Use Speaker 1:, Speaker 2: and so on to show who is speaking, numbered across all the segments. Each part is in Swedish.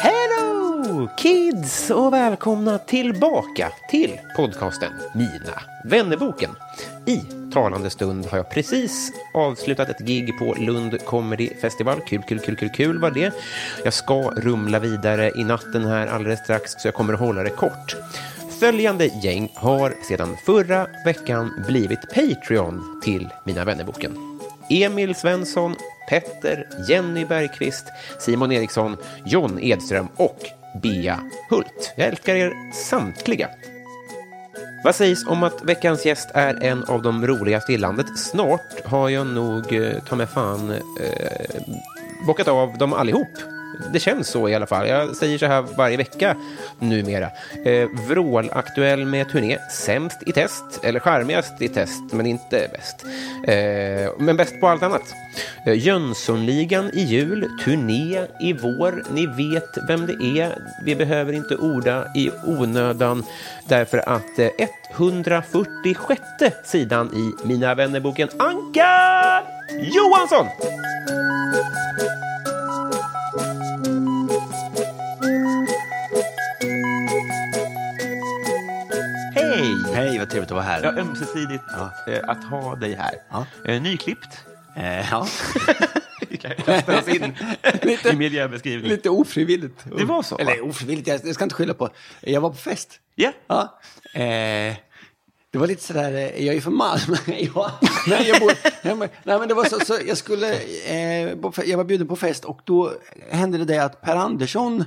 Speaker 1: Hello kids och välkomna tillbaka till podcasten Mina vännerboken. I talande stund har jag precis avslutat ett gig på Lund Comedy Festival. Kul, kul, kul, kul, kul var det. Jag ska rumla vidare i natten här alldeles strax så jag kommer att hålla det kort. Följande gäng har sedan förra veckan blivit Patreon till Mina vännerboken. Emil Svensson, Petter, Jenny Bergqvist, Simon Eriksson, John Edström och Bea Hult. Jag älskar er samtliga. Vad sägs om att veckans gäst är en av de roligaste i landet? Snart har jag nog, eh, ta mig fan, eh, bockat av dem allihop. Det känns så i alla fall. Jag säger så här varje vecka numera. Eh, vrålaktuell med turné, sämst i test, eller charmigast i test, men inte bäst. Eh, men bäst på allt annat. Eh, Jönssonligan i jul, turné i vår. Ni vet vem det är. Vi behöver inte orda i onödan därför att eh, 146 sidan i Mina vännerboken Anka Johansson! Hej!
Speaker 2: Hej, vad trevligt att vara här.
Speaker 1: Ja, ömsesidigt eh, att ha dig här.
Speaker 2: Ja.
Speaker 1: Eh, nyklippt.
Speaker 2: Eh, ja.
Speaker 1: Vi kan kasta oss in i miljöbeskrivning.
Speaker 2: Lite ofrivilligt.
Speaker 1: Det var så, va?
Speaker 2: Eller ofrivilligt, jag, jag ska inte skylla på. Jag var på fest.
Speaker 1: Ja.
Speaker 2: Ja. Eh, det var lite sådär, eh, jag är från Malmö. ja. Nej, jag bor... Nej, men- Nej, men det var så, så jag skulle... Eh, på fe- jag var bjuden på fest och då hände det det att Per Andersson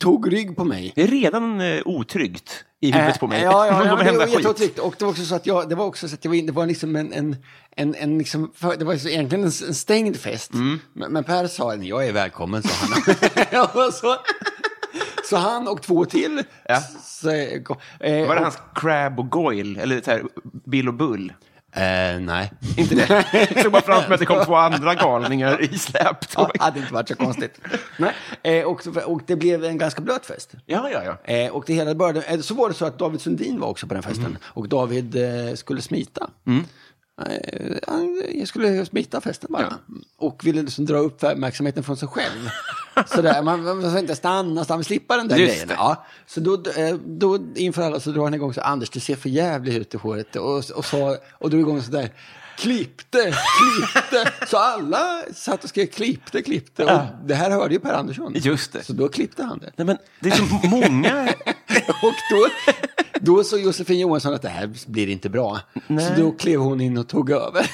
Speaker 2: tog rygg på mig.
Speaker 1: Det är redan eh, otryggt i huvudet
Speaker 2: Eh,
Speaker 1: på mig.
Speaker 2: Ja, ja,
Speaker 1: Det
Speaker 2: ja,
Speaker 1: kommer
Speaker 2: det
Speaker 1: hända
Speaker 2: var
Speaker 1: skit.
Speaker 2: jätteotryggt. Och det var också så att jag, det var också så att jag var in, det var liksom en, en, en, en liksom, för, det var så egentligen en, s- en stängd fest.
Speaker 1: Mm.
Speaker 2: Men, men Per sa, "Nej, jag är välkommen, sa han. Jag var så, så han och två till.
Speaker 1: Ja.
Speaker 2: Så, eh, kom- eh,
Speaker 1: Var det
Speaker 2: och-
Speaker 1: hans Crab och Goyle? Eller så här, Bill och Bull?
Speaker 2: Eh, nej.
Speaker 1: Inte det? Jag såg bara framför mig att det kom två andra galningar i släptåg.
Speaker 2: Det hade inte varit så konstigt. nej. Eh, och, och det blev en ganska blöt fest.
Speaker 1: Ja, ja, ja.
Speaker 2: Eh, och det hela började, eh, så var det så att David Sundin var också på den festen.
Speaker 1: Mm.
Speaker 2: Och David eh, skulle smita. Eh, han jag skulle smita festen bara. Och ville liksom dra upp uppmärksamheten från sig själv. Sådär, man, man ska inte stanna, stanna, slippa den där
Speaker 1: Just
Speaker 2: grejen.
Speaker 1: det.
Speaker 2: Ja. Så då, eh, då inför alla så drar han igång så Anders, du ser för jävligt ut i håret. Och, och, så, och drog igång sådär, klippte, klippte. Så alla satt och skrev klippte, klippte. Och det här hörde ju Per Andersson.
Speaker 1: Just det.
Speaker 2: Så då klippte han det.
Speaker 1: Nej, men det är så många...
Speaker 2: Och då, då sa Josefin Johansson att det här blir inte bra. Så då klev hon in och tog över.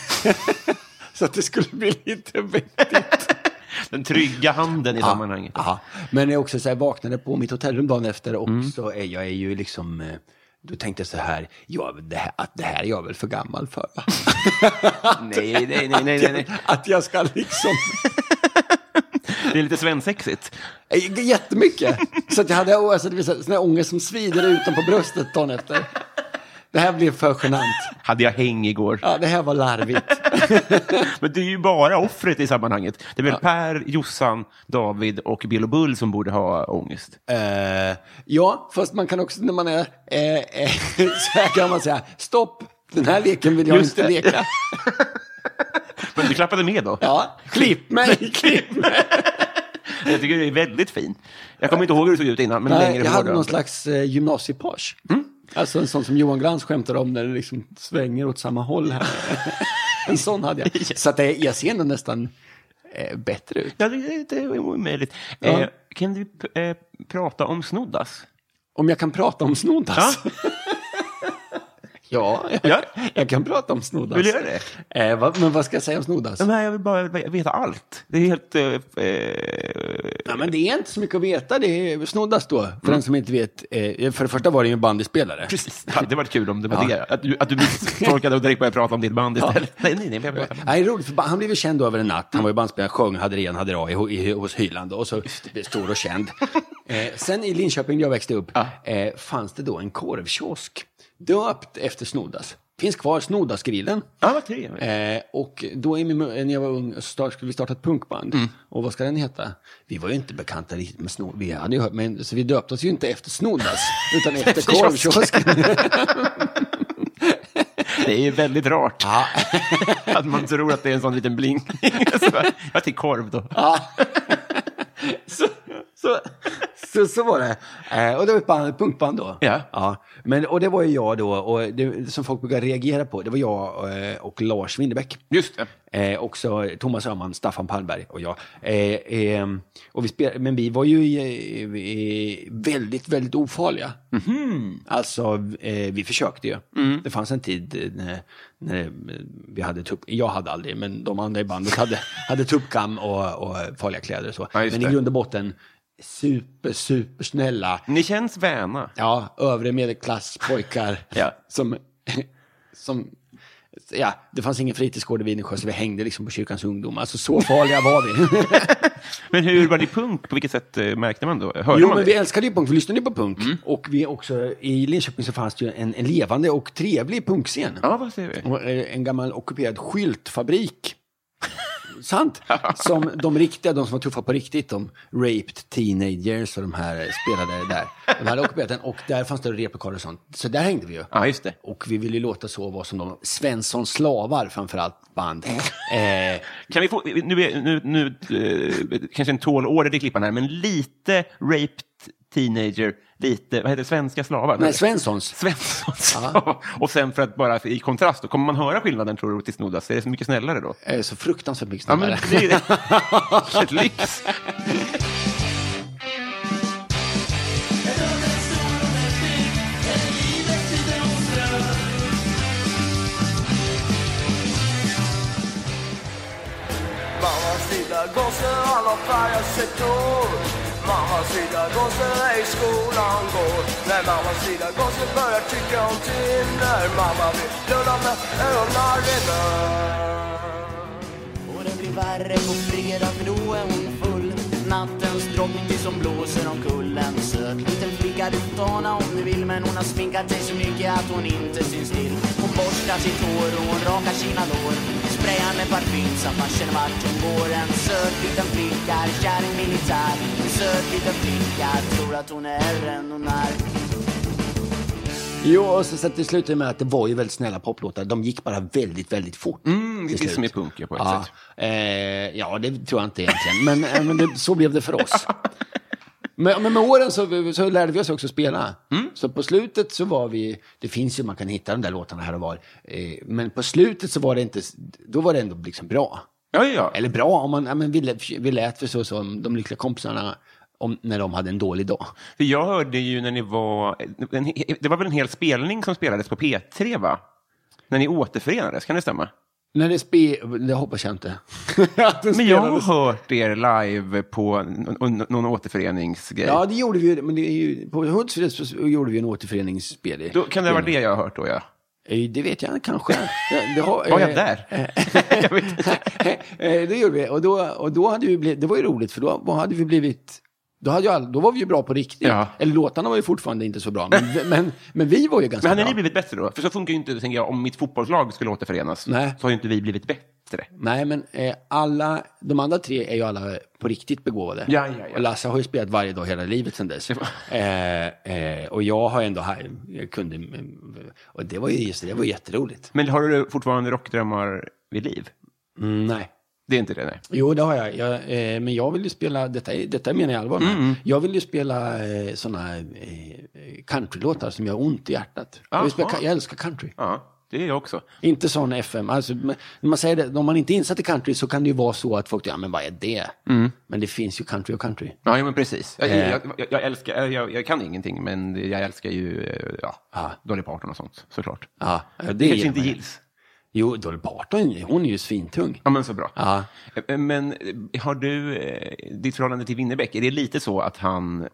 Speaker 2: Så att det skulle bli lite vettigt.
Speaker 1: Den trygga handen i sammanhanget.
Speaker 2: Ja. Men jag också så här, vaknade på mitt hotellrum dagen efter och
Speaker 1: Mm.
Speaker 2: så är jag är ju liksom... eh, Då tänkte jag så här, ja, det här, att det här är jag väl för gammal för? va?
Speaker 1: Nej, nej, nej, nej, nej, nej.
Speaker 2: Att jag ska liksom...
Speaker 1: Det är lite svensexigt.
Speaker 2: eh, Jättemycket! Så att jag hade alltså, det var så här- sån här ångest som svider utanpå bröstet dagen efter. Det här blev för genant.
Speaker 1: Hade jag häng igår.
Speaker 2: Ja, det här var larvigt.
Speaker 1: Men det är ju bara offret i sammanhanget. Det är väl Per, Jossan, David och Bill och Bull som borde ha ångest.
Speaker 2: Eh, ja, fast man kan också när man är eh, eh, så här kan man säga stopp, den här leken vill jag
Speaker 1: Just
Speaker 2: inte
Speaker 1: det.
Speaker 2: leka.
Speaker 1: Men du klappade med då?
Speaker 2: Ja, klipp mig, klipp mig.
Speaker 1: Jag tycker det är väldigt fin. Jag kommer inte ihåg hur du såg ut innan, men
Speaker 2: Nej,
Speaker 1: längre Mm.
Speaker 2: jag
Speaker 1: hår
Speaker 2: hade
Speaker 1: då.
Speaker 2: någon slags eh, gymnasiepage. Alltså en sån som Johan Glans skämtar om när det liksom svänger åt samma håll här. en sån hade jag. Så att det, jag ser ändå nästan eh, bättre ut.
Speaker 1: Ja, det, det är omöjligt.
Speaker 2: Ja.
Speaker 1: Eh, kan du p- eh, prata om snoddas?
Speaker 2: Om jag kan prata om snoddas?
Speaker 1: Ja.
Speaker 2: Ja, jag,
Speaker 1: Ja.
Speaker 2: jag kan prata om snoddas.
Speaker 1: Vill du göra det?
Speaker 2: Eh, vad- men vad ska jag säga om snoddas?
Speaker 1: Nej, jag vill bara veta allt. Det är helt... Eh, eh,
Speaker 2: Ja, men det är inte så mycket att veta. Det är snoddas då, för den som inte vet. Eh, för det första var det ju en bandyspelare.
Speaker 1: Mm. precis. Det hade varit kul om det var
Speaker 2: Ja.
Speaker 1: det. Att du, att du misstolkade och direkt började prata om ditt band istället. Nej, nej, nej. Jag vill bara...
Speaker 2: Nej, roligt, för ba- han blev ju känd över en natt. Han var ju bandspelare, sjöng, hade ren, hade ra i, i, hos Hyland och så blev stor och känd. Eh, sen i Linköping, där jag växte upp, eh, fanns det då en korvkiosk döpt efter Snoddas. Finns kvar, Snoddasgrillen.
Speaker 1: Ja, vad trevligt.
Speaker 2: Eh, och då i min, när jag var ung så start, skulle vi starta ett punkband. Och vad ska den heta? Vi var ju inte bekanta riktigt med Snod. Vi hade ju hört, men, så vi döpte oss ju inte efter Snoddas, utan efter
Speaker 1: Efter kiosken.
Speaker 2: korvkiosken.
Speaker 1: Det är ju väldigt rart. att man tror att det är en sån liten bling. Så bara, jag till korv då.
Speaker 2: så, så, så, så var det. Eh, och det var ett, band, ett punkband då.
Speaker 1: Ja.
Speaker 2: Men, och det var ju jag då, och det, som folk brukar reagera på, det var jag eh, och Lars Winnerbäck.
Speaker 1: Just det.
Speaker 2: Eh, också Thomas Öhman, Staffan Palmberg och jag. Eh, eh, och vi spel, men vi var ju eh, eh, väldigt, väldigt ofarliga.
Speaker 1: Mhm.
Speaker 2: Alltså, eh, vi försökte ju.
Speaker 1: Mm.
Speaker 2: Det fanns en tid eh, när, när vi hade tupp... Jag hade aldrig, men de andra i bandet hade, hade tuppkam och, och farliga kläder och så.
Speaker 1: Ja, just
Speaker 2: men
Speaker 1: det.
Speaker 2: i grund och botten, super, super snälla.
Speaker 1: Ni känns väna.
Speaker 2: Ja, övre medelklasspojkar.
Speaker 1: Ja.
Speaker 2: Som, som, ja, det fanns ingen fritidsgård i Vidensjö, så vi hängde liksom på kyrkans ungdom. Alltså så farliga var vi.
Speaker 1: Men hur var ni punk? På vilket sätt eh, märkte man då? Hörde man
Speaker 2: jo, men
Speaker 1: det? Mm.
Speaker 2: vi älskade ju punk, vi lyssnade ju på punk. Och vi också, i Linköping så fanns det ju en, en levande och trevlig punkscen.
Speaker 1: Ja, vad säger vi?
Speaker 2: Och, eh, En gammal ockuperad skyltfabrik. Sant! Som de riktiga, de som var tuffa på riktigt, de raped teenagers och de här eh, spelade där. De hade ockuperat den och där fanns det replokaler och sånt. Så där hängde vi ju.
Speaker 1: Ja, just det.
Speaker 2: Och vi ville ju låta så vara som de, Svensson slavar framförallt band.
Speaker 1: Mm.
Speaker 2: Eh,
Speaker 1: Kan vi få, nu, är- nu, nu eh, kanske en tålorder i klippan här, men lite raped teenager, lite, vad heter det, svenska slavar?
Speaker 2: nej, Svenssons.
Speaker 1: Svenssons. Och sen för att bara i kontrast, då kommer man höra skillnaden tror du till Snoddas? Är det så mycket snällare då?
Speaker 2: Eh, så fruktansvärt mycket
Speaker 1: Ja, men
Speaker 2: snabbare.
Speaker 1: det är ett lyx.
Speaker 3: Mammas lilla gosse, han har färgat sig hår Mammas lilla gosse i skolan går När mammas lilla gosse börjar tycka om thinner Mamma vill knulla med ögonen rinner
Speaker 4: Och det blir värre på fredag för då är hon full Nattens drottning det som blåser omkull En söt liten flicka, du får ta henne om du vill Men hon har sminkat sig så mycket att hon inte syns till Hon borstar sitt hår och hon rakar sina lår Sprayar med parfym så att man känner vart hon går En söt liten flicka, kär i militär En söt liten flicka, tror att hon är äldre än hon är
Speaker 2: Jo, och så, så att det slutade med att det var ju väldigt snälla poplåtar. De gick bara väldigt, väldigt fort.
Speaker 1: Mm, det är som är punk ja, på ett
Speaker 2: Ja,
Speaker 1: sätt.
Speaker 2: eh, ja, det tror jag inte egentligen. Men, eh, men det, så blev det för oss. Men, men med åren så, så lärde vi oss också spela.
Speaker 1: Mm.
Speaker 2: Så på slutet så var vi, det finns ju, man kan hitta de där låtarna här och var. Eh, men på slutet så var det inte, då var det ändå liksom bra.
Speaker 1: Ja, ja, ja.
Speaker 2: Eller bra, om man, ja, men vi, lät, vi lät för så som de lyckliga kompisarna om, när de hade en dålig dag.
Speaker 1: För jag hörde ju när ni var... En, det var väl en hel spelning som spelades på P3, va? När ni återförenades, kan det stämma?
Speaker 2: När det spe... Det hoppas jag inte. Att den
Speaker 1: Men jag har
Speaker 2: spelades.
Speaker 1: hört er live på n- n- någon återföreningsgrej.
Speaker 2: Ja, det gjorde vi ju. Men det är ju, på Hultsfred så gjorde vi en återföreningsspel.
Speaker 1: Då, kan det
Speaker 2: Mm.
Speaker 1: vara det jag har hört då, ja?
Speaker 2: Eh, Det vet jag kanske. Det, det har,
Speaker 1: Var jag
Speaker 2: eh,
Speaker 1: där? jag vet inte.
Speaker 2: eh, det gjorde vi. Och då, och då hade vi blivit, det var ju roligt, för då, då hade vi blivit... Då, hade ju all, då var vi ju bra på riktigt.
Speaker 1: Ja.
Speaker 2: Eller låtarna var ju fortfarande inte så bra, men, men, men vi var ju ganska
Speaker 1: Men hade
Speaker 2: bra.
Speaker 1: ni blivit bättre då? För så funkar ju inte, tänker jag, om mitt fotbollslag skulle återförenas.
Speaker 2: Nej.
Speaker 1: Så har ju inte vi blivit bättre.
Speaker 2: Nej, men eh, alla, de andra tre är ju alla på riktigt begåvade.
Speaker 1: Ja, ja, ja.
Speaker 2: Och Lasse har ju spelat varje dag hela livet sedan dess. eh, eh, och jag har ändå, här, jag kunde, och det var ju just det, det var jätteroligt.
Speaker 1: Men har du fortfarande rockdrömmar vid liv?
Speaker 2: Mm, nej.
Speaker 1: Det är inte det, nej.
Speaker 2: Jo, det har jag. jag eh, men jag vill ju spela, detta, är- detta menar jag allvar med.
Speaker 1: Mm,
Speaker 2: Jag vill ju spela eh, sådana eh, countrylåtar som gör ont i hjärtat. Jag, vill spela,
Speaker 1: Jaha.
Speaker 2: jag älskar country.
Speaker 1: Ja, det är jag också.
Speaker 2: Inte sån FM. Alltså, men- när man säger det, om man inte är insatt i country så kan det ju vara så att folk tycker, ja men vad är det?
Speaker 1: Mm.
Speaker 2: Men det finns ju country och country.
Speaker 1: Ja, ja men precis. Jag,
Speaker 2: Eh.
Speaker 1: jag, jag, jag älskar, jag, jag kan ingenting, men jag älskar ju eh, ja, Dolly Parton och sånt, såklart.
Speaker 2: Ja, det,
Speaker 1: Kanske
Speaker 2: gillar
Speaker 1: inte
Speaker 2: man ju.
Speaker 1: gills.
Speaker 2: Jo, Dolly Parton, hon är ju svintung.
Speaker 1: Ja, men så bra.
Speaker 2: Ja.
Speaker 1: Eh, Men eh, har du, eh, ditt förhållande till Winnerbäck, är det lite så att han,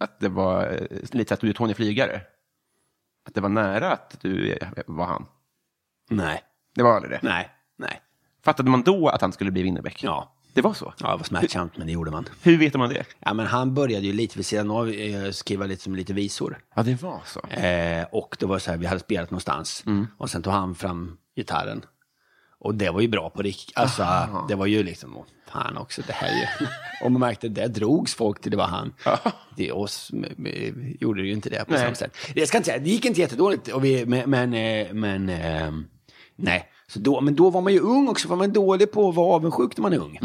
Speaker 1: att det var eh, lite så att du är Tony Flygare? Att det var nära att du eh, var han?
Speaker 2: Nej,
Speaker 1: Det var aldrig det?
Speaker 2: nej, nej.
Speaker 1: Fattade man då att han skulle bli Winnerbäck?
Speaker 2: Ja.
Speaker 1: Det var så?
Speaker 2: Ja, det var smärtsamt, men det gjorde man.
Speaker 1: Hur vet man det?
Speaker 2: Ja, men han började ju lite vid sidan av eh, skriva lite, som lite visor.
Speaker 1: Ja, det var så.
Speaker 2: Eh, och det var så här, vi hade spelat någonstans. Och sen tog han fram gitarren. Och det var ju bra på riktigt. Alltså, det var ju liksom, åh, fan också, det här är ju... och man märkte, där drogs folk till det var han. det oss m- m- gjorde ju inte det på
Speaker 1: Nej.
Speaker 2: samma sätt. Jag ska inte säga, det gick inte jättedåligt. Och vi, men, men, eh, men ehm, nej. Så då, men då var man ju ung också, var man dålig på att vara avundsjuk när man är ung.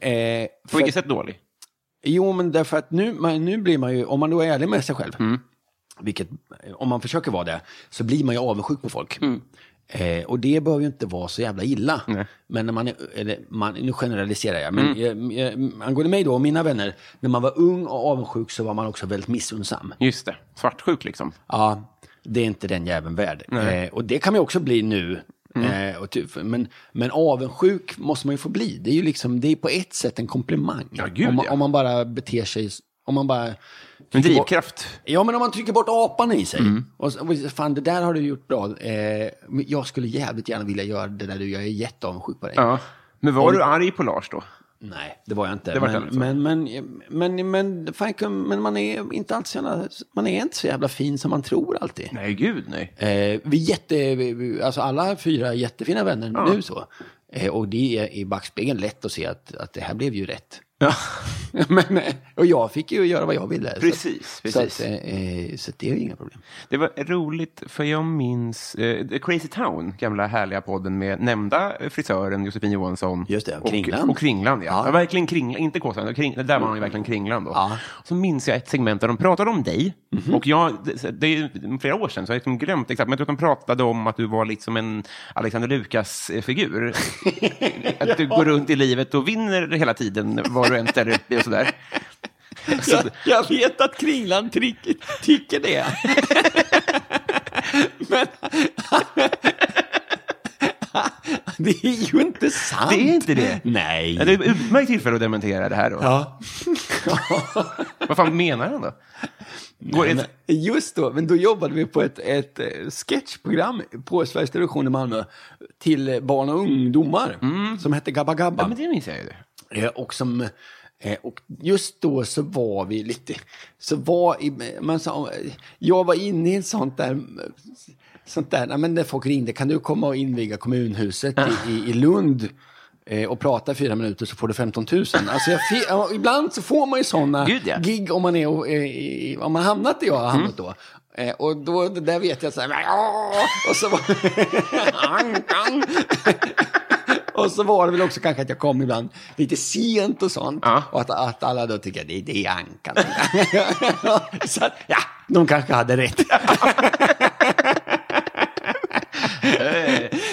Speaker 2: Eh,
Speaker 1: På
Speaker 2: för-
Speaker 1: vilket sätt dålig?
Speaker 2: Jo, men därför att nu, man, nu blir man ju, om man då är ärlig med sig själv, vilket, eh, om man försöker vara det, så blir man ju avundsjuk på folk. Eh, och det behöver ju inte vara så jävla illa. Men när man, är, eller man, nu generaliserar jag, men eh, eh, angående mig då och mina vänner, när man var ung och avundsjuk så var man också väldigt missunnsam.
Speaker 1: Just det, svartsjuk liksom.
Speaker 2: Ja, det är inte den jäveln värd. Eh, och det kan man ju också bli nu.
Speaker 1: Mm.
Speaker 2: Eh, och typ, men, men avundsjuk måste man ju få bli. Det är ju liksom, det är på ett sätt en komplimang.
Speaker 1: Ja, gud,
Speaker 2: om, man,
Speaker 1: ja.
Speaker 2: om man bara beter sig, om man bara...
Speaker 1: En
Speaker 2: trycker bort-
Speaker 1: drivkraft. Mm.
Speaker 2: Ja, men om man trycker bort apan i sig. Och, så- och fan, det där har du gjort bra. Eh, men jag skulle jävligt gärna vilja göra det där du gör. Jag är jätteavundsjuk på dig.
Speaker 1: Ja. Men var du arg på Lars då?
Speaker 2: Nej, det var jag inte.
Speaker 1: Det var
Speaker 2: men,
Speaker 1: inte så.
Speaker 2: men, men, men, men, fan, men man är inte alltid så jävla, man är inte så jävla fin som man tror alltid.
Speaker 1: Nej, gud nej.
Speaker 2: Eh, vi är jätte, vi- vi- alltså alla fyra är jättefina vänner nu så. Eh, och det är i backspegeln lätt att se att, att det här blev ju rätt.
Speaker 1: Ja.
Speaker 2: Men, eh, och jag fick ju göra vad jag ville.
Speaker 1: Precis,
Speaker 2: så, att-
Speaker 1: precis.
Speaker 2: Så, att, eh, så att det är ju inga problem.
Speaker 1: Det var roligt, för jag minns eh, The Crazy Town, gamla härliga podden med nämnda eh, frisören Josefin Johansson.
Speaker 2: Just det, och
Speaker 1: och
Speaker 2: Kringland.
Speaker 1: Och Kringland, ja.
Speaker 2: Ja.
Speaker 1: ja verkligen Kringland, inte Kåsan, kring, där var han ju verkligen Kringland då.
Speaker 2: Ja.
Speaker 1: Så minns jag ett segment där de pratade om dig. Och jag, det, det är ju flera år sedan, så jag har liksom glömt exakt, men jag tror att de pratade om att du var liksom en Alexander Lukas-figur. att du går runt i livet och vinner hela tiden, var du än ställer upp dig och sådär. Så,
Speaker 2: Jag vet att Kringland tycker det. men det är ju inte sant.
Speaker 1: Det är inte det.
Speaker 2: Nej.
Speaker 1: Ja, Det är ett utmärkt tillfälle att dementera det här då.
Speaker 2: Ja.
Speaker 1: Vad fan menar han då? Går
Speaker 2: Nej,
Speaker 1: ett-
Speaker 2: men Just då, men då jobbade vi på ett, ett eh, sketchprogram på Sveriges Television i Malmö till eh, barn och ungdomar som hette Gabba Gabba.
Speaker 1: Mm. Ja, men det minns jag ju.
Speaker 2: Eh, Och, som, eh, och just då så var vi lite, så var, i- man sa, jag var inne i en sånt där, sånt där, nej, men när folk ringde, kan du komma och inviga kommunhuset i, i, i Lund? eh, och prata i fyra minuter så får du 15 000. Alltså jag fi- ja, ibland så får man ju sådana
Speaker 1: Gud, ja. Mm.
Speaker 2: gig om man, är, och, eh, i- om man hamnat där jag har hamnat då. Eh, och då, det där vet jag så här, "Ja", och så var, och så var det väl också kanske att jag kom ibland lite sent och sånt.
Speaker 1: Ja.
Speaker 2: Och att, att alla då tycker att det, det är Ankan. så att, ja, de kanske hade rätt.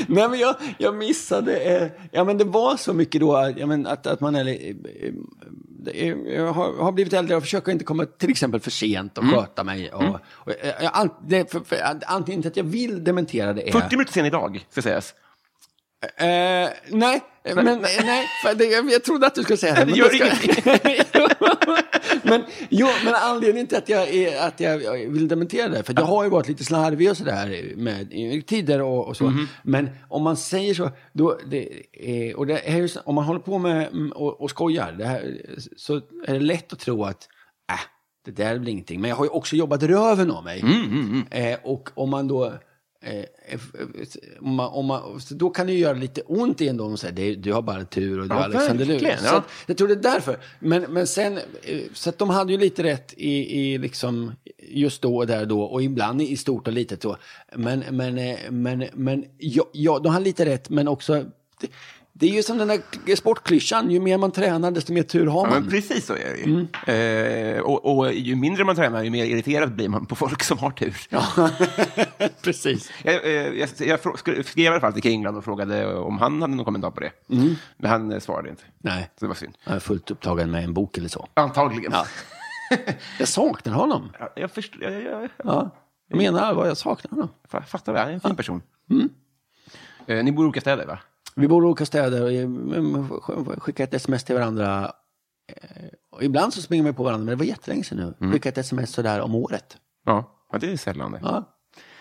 Speaker 2: Nej, men jag, jag missade... Eh, ja, men det var så mycket då att- ja, men att, att man är, eh, eh, det är- jag har, har blivit äldre och försöker inte komma till exempel för sent och sköta mig. Och, och, eh, jag, an- det, för, för, antingen inte att jag vill dementera det eh, är...
Speaker 1: 40 minuter sen idag, ska sägas.
Speaker 2: Eh, nej, men, nej för det, jag, jag trodde att du skulle säga det.
Speaker 1: Det gör
Speaker 2: då men, jo, men anledningen till att jag, är, att jag jag vill dementera det, för jag har ju varit lite slarvig och sådär med i tider och, och så.
Speaker 1: Mhm.
Speaker 2: Men om man säger så, då, det, eh, och det är ju, så- om man håller på med mm, och, och skojar, det här, så är det lätt att tro att äh, det där är väl ingenting. Men jag har ju också jobbat röven av mig.
Speaker 1: Mm,
Speaker 2: Eh, och om man då... Eh, f- f- om man, om man, så då kan det ju göra lite ont i en då om man säger "Det- du har bara tur och du
Speaker 1: Ja,
Speaker 2: har Alexander
Speaker 1: verkligen,
Speaker 2: Lukas.
Speaker 1: ja.
Speaker 2: Så att, jag tror det är därför. Men, men sen, eh, så att de hade ju lite rätt i, i liksom just då och där då och ibland i stort och litet då. Men, men, eh, men, men ja, ja, de hade lite rätt men också Det är ju som den där sportklyschan, ju mer man tränar desto mer tur har
Speaker 1: Ja, men
Speaker 2: man.
Speaker 1: precis så är det ju. Eh, och, och ju mindre man tränar, ju mer irriterad blir man på folk som har tur.
Speaker 2: precis.
Speaker 1: Jag, eh, jag, jag frå- skulle- skrev i alla fall till Kringland och frågade om han hade någon kommentar på det. Men han eh, svarade inte.
Speaker 2: Nej,
Speaker 1: Så det var synd.
Speaker 2: jag är fullt upptagen med en bok eller så.
Speaker 1: Antagligen. Ja.
Speaker 2: Jag saknar honom.
Speaker 1: Jag, förstår, jag, jag,
Speaker 2: Ja. Jag menar allvar, jag saknar honom.
Speaker 1: jag fattar det. Han är en fin person. Eh, ni bor i olika städer, va?
Speaker 2: Vi bor i olika städer och eh, skickar ett sms till varandra. Eh, och Ibland så springer vi på varandra, men det var jättelänge sedan nu. Skicka ett sms sådär om året.
Speaker 1: Ja. ja, det är sällan det.
Speaker 2: Ja.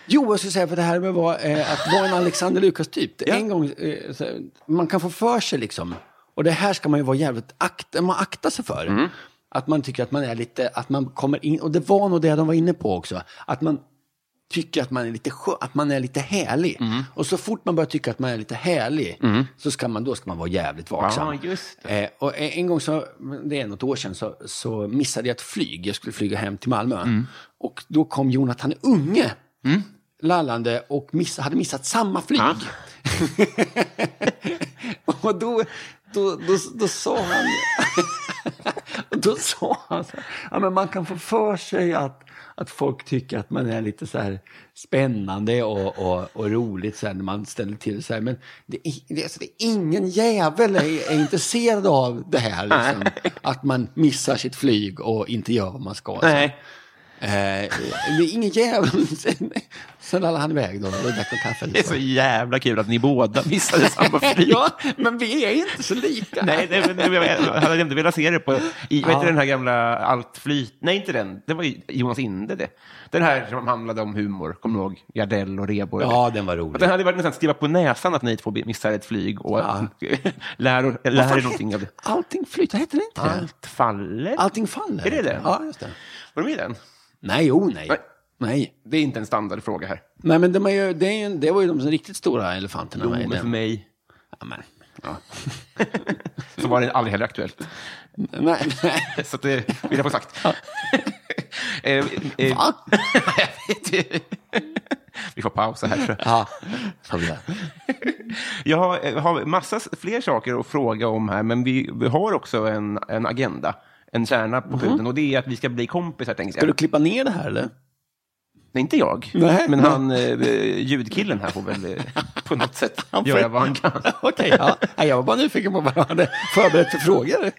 Speaker 2: Jo, jag skulle säga för det här med att vara, eh, att vara en Alexander Lukas-typ. Det är En gång, eh, så, man kan få för sig liksom, och det här ska man ju vara jävligt akt, man akta sig för. Att man tycker att man är lite, att man kommer in, och det var nog det de var inne på också, att man tycker att man är lite skö, att man är lite härlig.
Speaker 1: Mm.
Speaker 2: Och så fort man börjar tycka att man är lite härlig, så ska man, då ska man vara jävligt vaksam.
Speaker 1: Ja, just
Speaker 2: Eh, och en en gång, så, det är något år sedan, så, så missade jag ett flyg. Jag skulle flyga hem till Malmö.
Speaker 1: Mm.
Speaker 2: Och då kom Jonathan Unge lallande och miss, hade missat samma flyg. och då, då, då, då sa han... och då sa han så här, ja, men man kan få för sig att, att folk tycker att man är lite så här spännande och, och, och roligt så här, när man ställer till så här. Men det är, det, är- alltså, det är ingen jävel är, är intresserad av det här. Liksom, att man missar sitt flyg och inte gör vad man ska. så här.
Speaker 1: Nej.
Speaker 2: Eh, det är ingen jävel. Sen, sen lallade han iväg då och drack en kaffe. liksom.
Speaker 1: Det är så jävla kul att ni båda missade samma flyg.
Speaker 2: Ja, men vi är inte så lika.
Speaker 1: Nej, nej, men jag jag hade inte velat se det på... I, Vad
Speaker 2: Ja.
Speaker 1: heter den här gamla Allt flyt... Nej, inte den. Det var ju Jonas Inde det. Den här som handlade om humor. Kommer du ihåg? Gardell och Rheborg.
Speaker 2: Ja, den var
Speaker 1: Och
Speaker 2: rolig.
Speaker 1: den hade varit nästan skriva på näsan att ni två missar ett flyg och
Speaker 2: Ja.
Speaker 1: lär, och- lär er någonting av det.
Speaker 2: Allting flyter, heter det inte det?
Speaker 1: Allt faller.
Speaker 2: Allting faller.
Speaker 1: Är det det?
Speaker 2: Ja, just det.
Speaker 1: Var du med i den?
Speaker 2: Nej, jo, nej.
Speaker 1: Nej.
Speaker 2: Nej,
Speaker 1: Det är inte en standardfråga här.
Speaker 2: nej men det var, ju, det, är ju, det var ju de riktigt stora elefanterna.
Speaker 1: Jo,
Speaker 2: med i
Speaker 1: men
Speaker 2: den.
Speaker 1: för mig
Speaker 2: Ja, men.
Speaker 1: så var det aldrig heller aktuellt.
Speaker 2: Nej, nej.
Speaker 1: Så att det vill jag få sagt. Eh, eh,
Speaker 2: Va?
Speaker 1: Vi får pausa här. tror jag.
Speaker 2: Ja. Så blir det.
Speaker 1: Jag har, jag har massa s- fler saker att fråga om här, men vi, vi har också en, en agenda. En kärna på pudeln, och det är att vi ska bli kompisar, tänkte
Speaker 2: Mhm. Ska
Speaker 1: jag.
Speaker 2: du klippa ner det här eller?
Speaker 1: Nej, inte jag.
Speaker 2: Nej.
Speaker 1: Men han, eh, ljudkillen här får väl eh, på något sätt göra vad han kan.
Speaker 2: Okej, ja. Nej, jag var bara nyfiken på vad du hade förberett för frågor.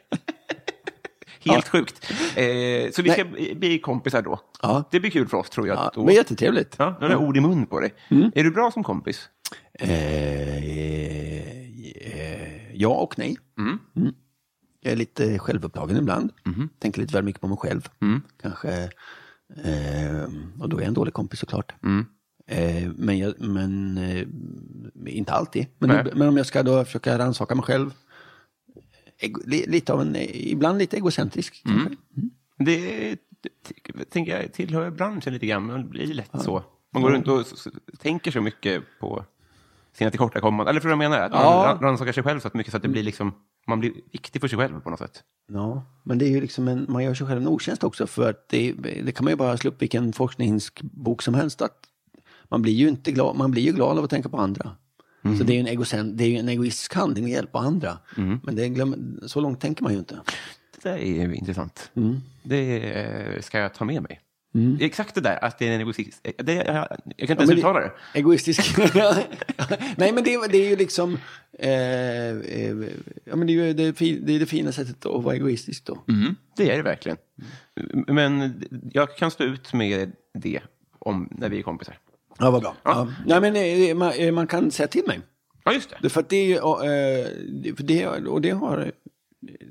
Speaker 1: Helt sjukt. Eh, så vi ska bli bli kompisar då.
Speaker 2: Ja.
Speaker 1: Det blir kul för oss, tror jag.
Speaker 2: Ja, Mm.
Speaker 1: att
Speaker 2: det
Speaker 1: då.
Speaker 2: var jättetrevligt.
Speaker 1: Ja, nu har jag ord i mun på dig. Är du bra som kompis?
Speaker 2: Eh, eh, ja och nej. Mm. Jag är lite självupptagen ibland. Tänker lite väl mycket på mig själv. Kanske. Eh, och då är jag en dålig kompis såklart. Eh, men jag, men eh, inte alltid. Men,
Speaker 1: Nej.
Speaker 2: men om jag ska då försöka rannsaka mig själv. Ego, li, lite av en, ibland lite egocentrisk. kanske.
Speaker 1: Det, det ty- tänker jag tillhör branschen lite grann, men det blir lätt så. Man går runt och s- s- tänker så mycket på sina tillkortakommanden. Eller för jag menar, att man
Speaker 2: Ja.
Speaker 1: ra- rannsakar sig själv så att mycket så att det blir liksom, man blir viktig för sig själv på något sätt.
Speaker 2: Ja, men det är ju liksom en, man gör sig själv en otjänst också för att det, det kan man ju bara slå upp vilken forskningsbok som helst. Att man blir ju inte glad, man blir ju glad av att tänka på andra. Så det är ju en, egocent, det är ju en egoistisk handling att hjälpa andra. Men det glöm, så långt tänker man ju inte.
Speaker 1: Det där är ju intressant.
Speaker 2: Mm.
Speaker 1: Det eh, ska jag ta med mig. Det är exakt det där, att det är en egoistisk... eh, Det, jag, jag kan inte ens
Speaker 2: men det-
Speaker 1: uttala det.
Speaker 2: Egoistisk. Nej, men det, det är ju liksom... Eh, eh, ja, men det är ju det, fi- det, är det fina sättet att vara egoistisk då.
Speaker 1: Det är det verkligen.
Speaker 2: Mm.
Speaker 1: Men jag kan stå ut med det om, när vi är kompisar.
Speaker 2: Ja, vad bra. Ja. Nej, men eh, man, eh, man kan säga till mig.
Speaker 1: Ja, just det.
Speaker 2: Det- För att det är ju, och, eh, det- för det, och det har,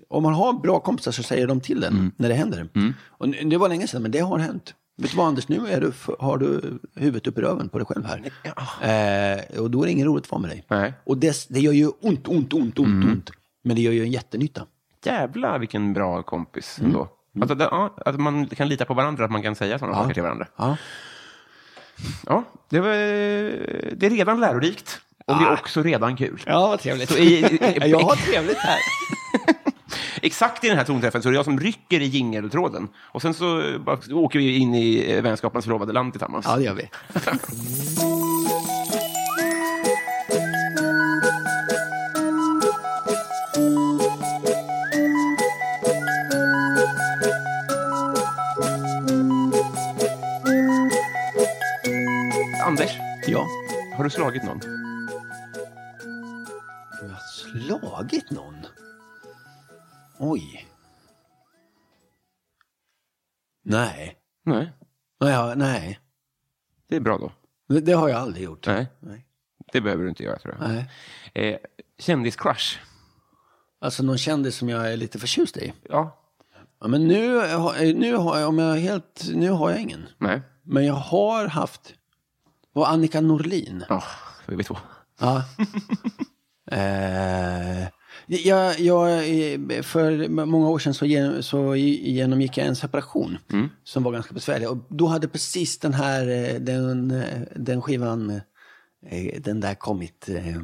Speaker 2: om man har bra kompisar så säger de till en
Speaker 1: Mm.
Speaker 2: när det händer. Och nu- det var länge sedan, men det har hänt. Vet du vad Anders, nu är du, f- har du huvudet upp i röven på dig själv här. Eh, och då är det ingen roligt att vara med dig.
Speaker 1: Nej. Mm.
Speaker 2: Och det, det gör ju ont, ont, ont, ont, ont. Men det gör ju en jättenytta.
Speaker 1: Jävlar vilken bra kompis
Speaker 2: Mm.
Speaker 1: ändå. Alltså, det, ja, att man kan lita på varandra, att man kan säga sådana saker till varandra.
Speaker 2: Ja.
Speaker 1: Ja, det, var, det är redan lärorikt och det är också redan kul.
Speaker 2: Ah. Ja, vad trevligt.
Speaker 1: Så i, i,
Speaker 2: jag har trevligt här.
Speaker 1: exakt i den här tonträffen så är det jag som rycker i jingeltråden. Och sen så bara, så åker vi in i eh, vänskapens förlovade land tillsammans.
Speaker 2: Ja, det gör vi.
Speaker 1: Anders,
Speaker 2: Ja.
Speaker 1: har du slagit någon?
Speaker 2: Jag har slagit någon. Oj. Nej.
Speaker 1: Nej.
Speaker 2: Nej, ja, nej.
Speaker 1: Det är bra då.
Speaker 2: Det, det har jag aldrig gjort.
Speaker 1: Nej.
Speaker 2: Nej.
Speaker 1: Det behöver du inte göra, tror jag.
Speaker 2: Nej.
Speaker 1: Eh, kändiscrush.
Speaker 2: Alltså någon kändis som jag är lite förtjust i.
Speaker 1: Ja.
Speaker 2: Ja, men nu, har- nu, har, jag, om jag är helt, nu har jag ingen.
Speaker 1: Nej.
Speaker 2: Men jag har haft... Och Annika Norlin.
Speaker 1: Ja, då är vi två.
Speaker 2: Ja. eh, jag, jag, eh, för många år sedan så, gen, så i- genomgick jag en separation
Speaker 1: Mm.
Speaker 2: som var ganska besvärlig. Och då hade precis den här eh, den, eh, den skivan, eh, den där kommit, eh,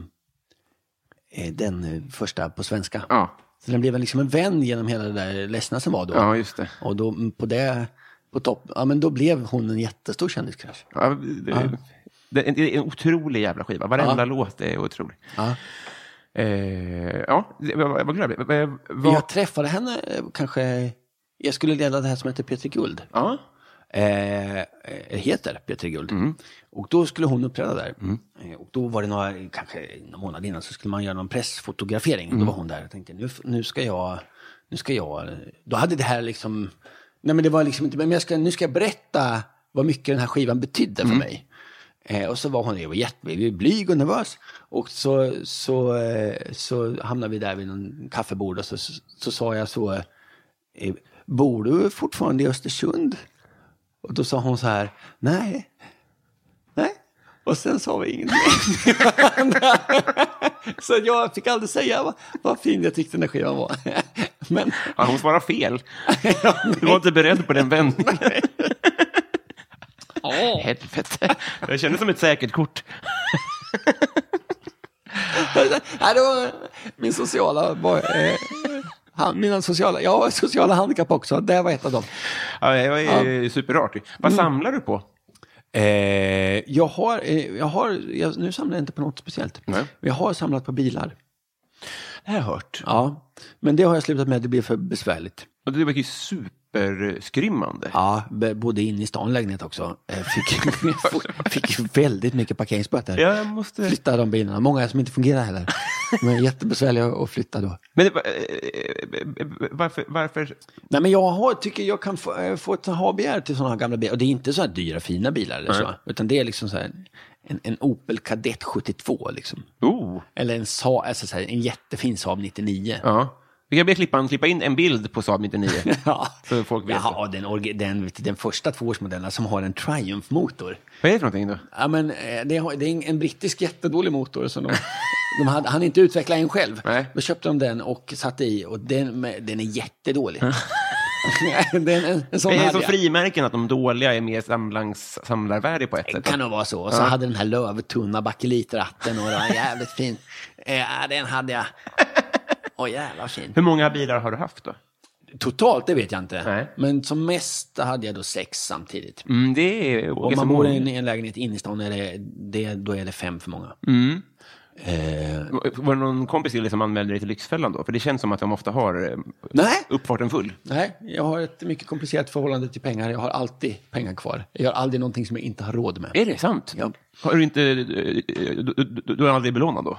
Speaker 2: eh, den eh, första på svenska.
Speaker 1: Ja.
Speaker 2: Så den blev liksom en vän genom hela det där ledsna som var då.
Speaker 1: Ja, just det.
Speaker 2: Och då mm, på det, på topp, ja men då blev hon en jättestor kändiskrasch.
Speaker 1: Ja, det, det, det är en otrolig jävla skiva. Varenda låt är otrolig.
Speaker 2: Ja.
Speaker 1: Eh, ja, det- vad vad glad jag blev. Eh, vad-
Speaker 2: Jag träffade henne eh, kanske, jag skulle leda det här som heter Peter Guld.
Speaker 1: Ja.
Speaker 2: Eh, eh, heter Peter Guld. Och då skulle hon uppträda där. Eh, och då var det några, kanske en månad innan, så skulle man göra någon pressfotografering. Då var hon där. Jag tänkte, nu, nu ska jag, nu ska jag, då hade det här liksom, nej men det var liksom inte, men jag ska, nu ska jag berätta vad mycket den här skivan betydde för mig. Eh, och så var hon, jag var jätteblyg och nervös. Och så, så, eh, så hamnade vi där vid någon kaffebord och så, så, så sa jag så, eh, bor du fortfarande i Östersund? Och då sa hon så här, nej, nej. Och sen sa vi ingenting. så jag fick aldrig säga vad, vad fin jag tyckte den där skivan var. Men
Speaker 1: Ja, hon svarar fel. Du var inte beredd på den vändningen. Helvete. Det kändes som ett säkert kort.
Speaker 2: nej, det var min sociala, var, eh, han, mina sociala, jag har sociala handikapp också, det var ett av dem.
Speaker 1: Ja, jag är ja. Mm. superrart. Vad samlar du på?
Speaker 2: Eh, jag har, eh, jag har jag, nu samlar jag inte på något speciellt.
Speaker 1: Nej.
Speaker 2: Men jag har samlat på bilar.
Speaker 1: Det har jag hört.
Speaker 2: Ja, men det har jag slutat med, det blir för besvärligt.
Speaker 1: Och det verkar ju superskrymmande.
Speaker 2: Ja, b- bodde inne i stan lägenhet också. Eh, Fick, fick väldigt mycket parkeringsböter.
Speaker 1: Jag måste...
Speaker 2: Flytta de bilarna. Många som inte fungerar heller. De är jättebesvärliga att flytta då.
Speaker 1: Men det var- eh, eh, eh, varför, varför?
Speaker 2: Nej, men jag har, tycker jag kan få, eh, få ett ha-begär till sådana här gamla bilar. Och det är inte så här dyra fina bilar eller så. Utan det är liksom så här en, en Opel Kadett 72 liksom.
Speaker 1: Oh.
Speaker 2: Eller en, Sa, alltså så här, en jättefin Saab 99.
Speaker 1: Ja. Vi kan be klippan klippa in en bild på Saab 99.
Speaker 2: Ja.
Speaker 1: Så folk vet
Speaker 2: Jaha, den, orgi- den, vet du, den första tvåårsmodellen som har en Triumph-motor.
Speaker 1: Vad är det för någonting då?
Speaker 2: Ja, men, eh, det, har- det är en- en brittisk jättedålig motor. Som de, de hade, han inte utveckla en själv.
Speaker 1: Nej.
Speaker 2: Då köpte de den och satte i och den, med- den är jättedålig. den, en, en sån
Speaker 1: Det är
Speaker 2: hade
Speaker 1: som
Speaker 2: jag.
Speaker 1: frimärken att de dåliga är mer samlans, samlarvärde på ett sätt.
Speaker 2: kan nog vara så. Och så hade den här lövtunna bakelitratten och det var jävligt fin. Eh, den hade jag. Åh jävlar fin.
Speaker 1: Hur många bilar har du haft då?
Speaker 2: Totalt, det vet jag inte.
Speaker 1: Nej.
Speaker 2: Men som mest hade jag då sex samtidigt.
Speaker 1: Mm, det är
Speaker 2: Om
Speaker 1: Åke
Speaker 2: man
Speaker 1: som
Speaker 2: bor
Speaker 1: bor
Speaker 2: i en, i en lägenhet inne i stan, är det, det, då är det fem för många.
Speaker 1: Mm.
Speaker 2: Eh,
Speaker 1: Var det någon kompis till dig som liksom anmälde dig till Lyxfällan då? För det känns som att de ofta har eh,
Speaker 2: nej,
Speaker 1: uppfarten full.
Speaker 2: Nej, jag har ett mycket komplicerat förhållande till pengar. Jag har alltid pengar kvar. Jag gör aldrig någonting som jag inte har råd med.
Speaker 1: Är det sant?
Speaker 2: Ja.
Speaker 1: Har du inte... eh, Du, du, du du är aldrig belånad då?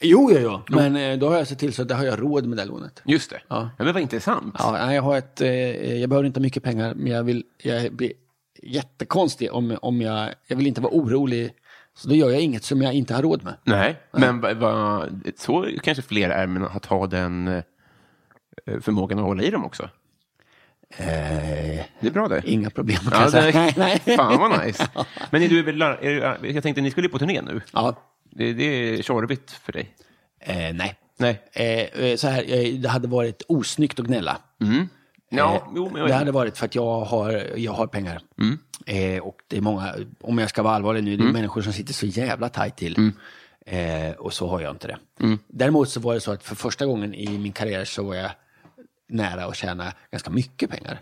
Speaker 2: Jo, jo, jo. Men eh, då har jag sett till så att det har jag råd med det här lånet.
Speaker 1: Just det.
Speaker 2: Ja.
Speaker 1: men vad intressant.
Speaker 2: Ja, nej, jag, har ett, eh, jag behöver inte mycket pengar, men jag vill jag blir jättekonstig om, om jag... Jag vill inte vara orolig, så då gör jag inget som jag inte har råd med.
Speaker 1: Nej, men va, va, så kanske fler är men att ha den eh, förmågan att hålla i dem också.
Speaker 2: Eh,
Speaker 1: Det är bra det.
Speaker 2: inga problem, kan
Speaker 1: Ja,
Speaker 2: jag säga.
Speaker 1: det,
Speaker 2: Nej, nej.
Speaker 1: fan vad nice. Men är du, väl- är du, jag tänkte, ni skulle ju på turné nu.
Speaker 2: Ja,
Speaker 1: Det, det är tjorvigt för dig.
Speaker 2: eh, nej.
Speaker 1: Nej.
Speaker 2: Eh, Eh, så här, eh, det hade varit osnyggt att gnälla.
Speaker 1: Ja,
Speaker 2: Eh,
Speaker 1: jo, men
Speaker 2: det
Speaker 1: jag, Mm.
Speaker 2: hade varit för att jag har, jag har pengar. Eh, och det är många, om jag ska vara allvarlig nu, det är människor som sitter så jävla tajt till.
Speaker 1: Mm.
Speaker 2: Eh, och så har jag inte det. Däremot så var det så att för första gången i min karriär så var jag nära att tjäna ganska mycket pengar.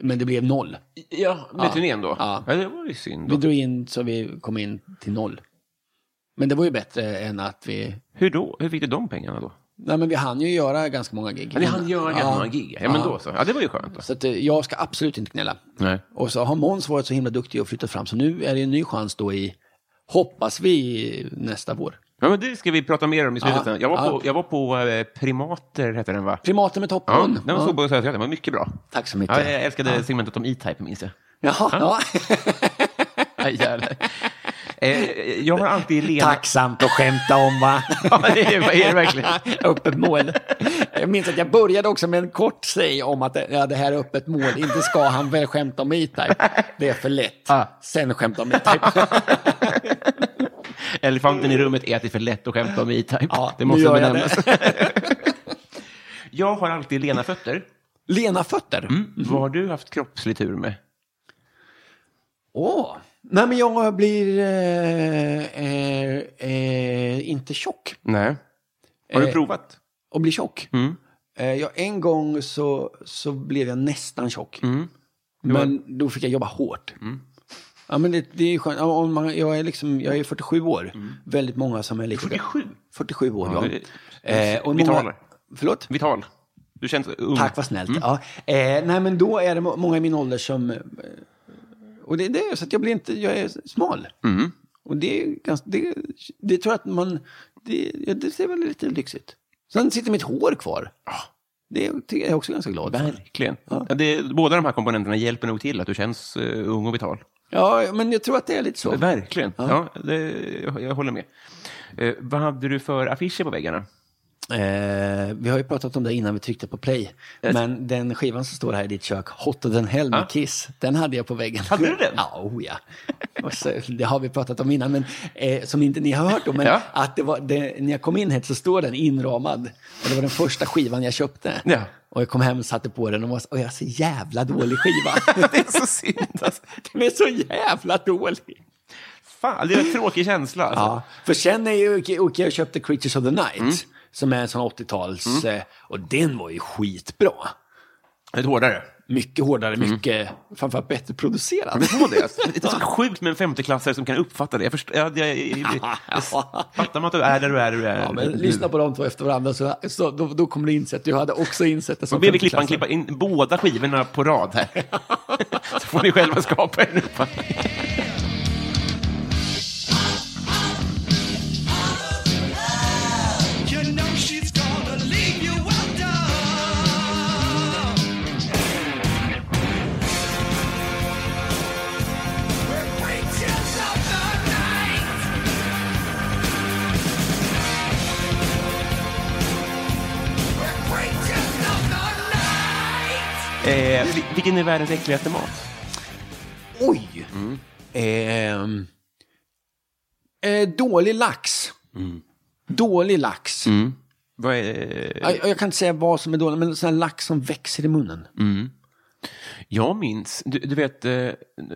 Speaker 2: Men det blev noll.
Speaker 1: ja, med
Speaker 2: Ja.
Speaker 1: turnén då?
Speaker 2: Ja.
Speaker 1: det var ju synd.
Speaker 2: Vi
Speaker 1: Då.
Speaker 2: drog in så vi kom in till noll. Men det var ju bättre än att vi...
Speaker 1: Hur då? Hur fick du de pengarna då?
Speaker 2: Nej, men vi hann ju göra ganska många gig.
Speaker 1: Men ni hann göra ganska många gig. Ja, men då så. Ja, det var ju skönt. Då.
Speaker 2: Så att, eh, jag ska absolut inte gnälla.
Speaker 1: Nej.
Speaker 2: Och så har Måns varit så himla duktig och flyttat fram, så nu är det en ny chans då i, hoppas vi, nästa vår.
Speaker 1: Ja, men det ska vi prata mer om i slutet.
Speaker 2: Ja.
Speaker 1: sen. Jag var
Speaker 2: Ja.
Speaker 1: på, jag var på eh, Primater, hette den va?
Speaker 2: Primaten med
Speaker 1: Ja,
Speaker 2: topphund.
Speaker 1: den var såg på Södertälje, den var mycket bra.
Speaker 2: Tack så
Speaker 1: Ja,
Speaker 2: mycket.
Speaker 1: jag älskade segmentet om E-Type, minns jag.
Speaker 2: Jaha, ja.
Speaker 1: Ja, jävlar. Eh, jag har alltid Lena...
Speaker 2: Tacksamt att skämta om va?
Speaker 1: Ja, men det är, är det verkligen.
Speaker 2: öppet mål. Jag minns att jag började också med en kort säg om att ja, det här är öppet mål, inte ska han väl skämta om E-Type. Det är för lätt.
Speaker 1: Ah.
Speaker 2: Sen skämta om E-Type.
Speaker 1: Elefanten i rummet är att det är för lätt att skämta om E-Type.
Speaker 2: Ja,
Speaker 1: det
Speaker 2: nu
Speaker 1: måste
Speaker 2: gör jag
Speaker 1: benämnas. jag har alltid lena fötter.
Speaker 2: Lena fötter.
Speaker 1: Vad har du haft kroppslig tur med?
Speaker 2: Åh. Nej, men jag blir eh, eh, eh, inte tjock.
Speaker 1: Nej. Har du
Speaker 2: Eh,
Speaker 1: provat?
Speaker 2: Och blir tjock. Eh, jag, en gång så, så blev jag nästan tjock. Men då fick jag jobba hårt. Ja, men det, det är skönt. Ja, Om man, jag, är liksom, jag är 47 år. Väldigt många som är lite...
Speaker 1: 47?
Speaker 2: 47 år, ja.
Speaker 1: det
Speaker 2: Eh, och
Speaker 1: Vital.
Speaker 2: många, förlåt?
Speaker 1: Vital. Du känns ung.
Speaker 2: Tack, vad
Speaker 1: Mm.
Speaker 2: snällt. Ja. Eh, nej, men då är det må- många i min ålder som... eh, Och det, det är så att jag blir inte... Jag är smal.
Speaker 1: Mm.
Speaker 2: Och det är ganska... Det, det tror jag att man... Det, ja, det ser väl lite lyxigt. Sen sitter mitt hår kvar. Det är jag också ganska glad för.
Speaker 1: Ah. Verkligen. Ja. det, båda de här komponenterna hjälper nog till att du känns eh, ung och vital.
Speaker 2: Ja, men jag tror att det är lite så.
Speaker 1: Verkligen. Ja. det, jag, jag håller med. Eh, vad hade du för affischer på väggarna?
Speaker 2: Eh, vi har ju pratat om det innan vi tryckte på play. Men den skivan som står här i ditt kök, Hot than hell med Kiss, den hade jag på väggen.
Speaker 1: Ah. Hade du den?
Speaker 2: Ja, oh ja. Och så, det har vi pratat om innan, men, eh, som inte ni har hört om. Men
Speaker 1: Ja.
Speaker 2: att det var, det, när jag kom in hit så står den inramad. Och det var den första skivan jag köpte.
Speaker 1: Ja.
Speaker 2: Och jag kom hem och satte på den och var så, och jag så jävla dålig skiva.
Speaker 1: det är så synd. Alltså.
Speaker 2: den är så jävla dålig.
Speaker 1: Fan, det är en tråkig känsla. Alltså.
Speaker 2: Ja, för sen är ju Okej jag köpte Creatures of the Night,
Speaker 1: Mm.
Speaker 2: som är en sån 80-tals, eh, och den var ju skitbra.
Speaker 1: Lite hårdare.
Speaker 2: Mycket hårdare, mycket, framförallt bättre producerad.
Speaker 1: På Mm. det. alltså. Det är så sjukt med en femteklassare som kan uppfatta det. Jag, förstår, jag, jag, jag, jag, fattar man att du är där du är, där du är.
Speaker 2: Ja, men lyssna på dem två efter varandra, så, så då, då kommer du inse att du hade också insett det
Speaker 1: Så
Speaker 2: som
Speaker 1: ber vi klippan klippa
Speaker 2: femteklassare.
Speaker 1: in båda skivorna på rad här. Så får ni själva skapa er en uppfattning.
Speaker 5: You know she's gonna leave you well done. We're creatures of the night. We're creatures of the night.
Speaker 1: Eh, vil- vilken är världens äckligaste mat?
Speaker 2: Oj!
Speaker 1: Mm.
Speaker 2: Ehm, eh, dålig lax.
Speaker 1: Mm.
Speaker 2: Dålig lax.
Speaker 1: Vad är,
Speaker 2: Jag, jag kan inte säga vad som är dålig, men sån här lax som växer i munnen.
Speaker 1: Mm. jag minns, du, du vet, eh,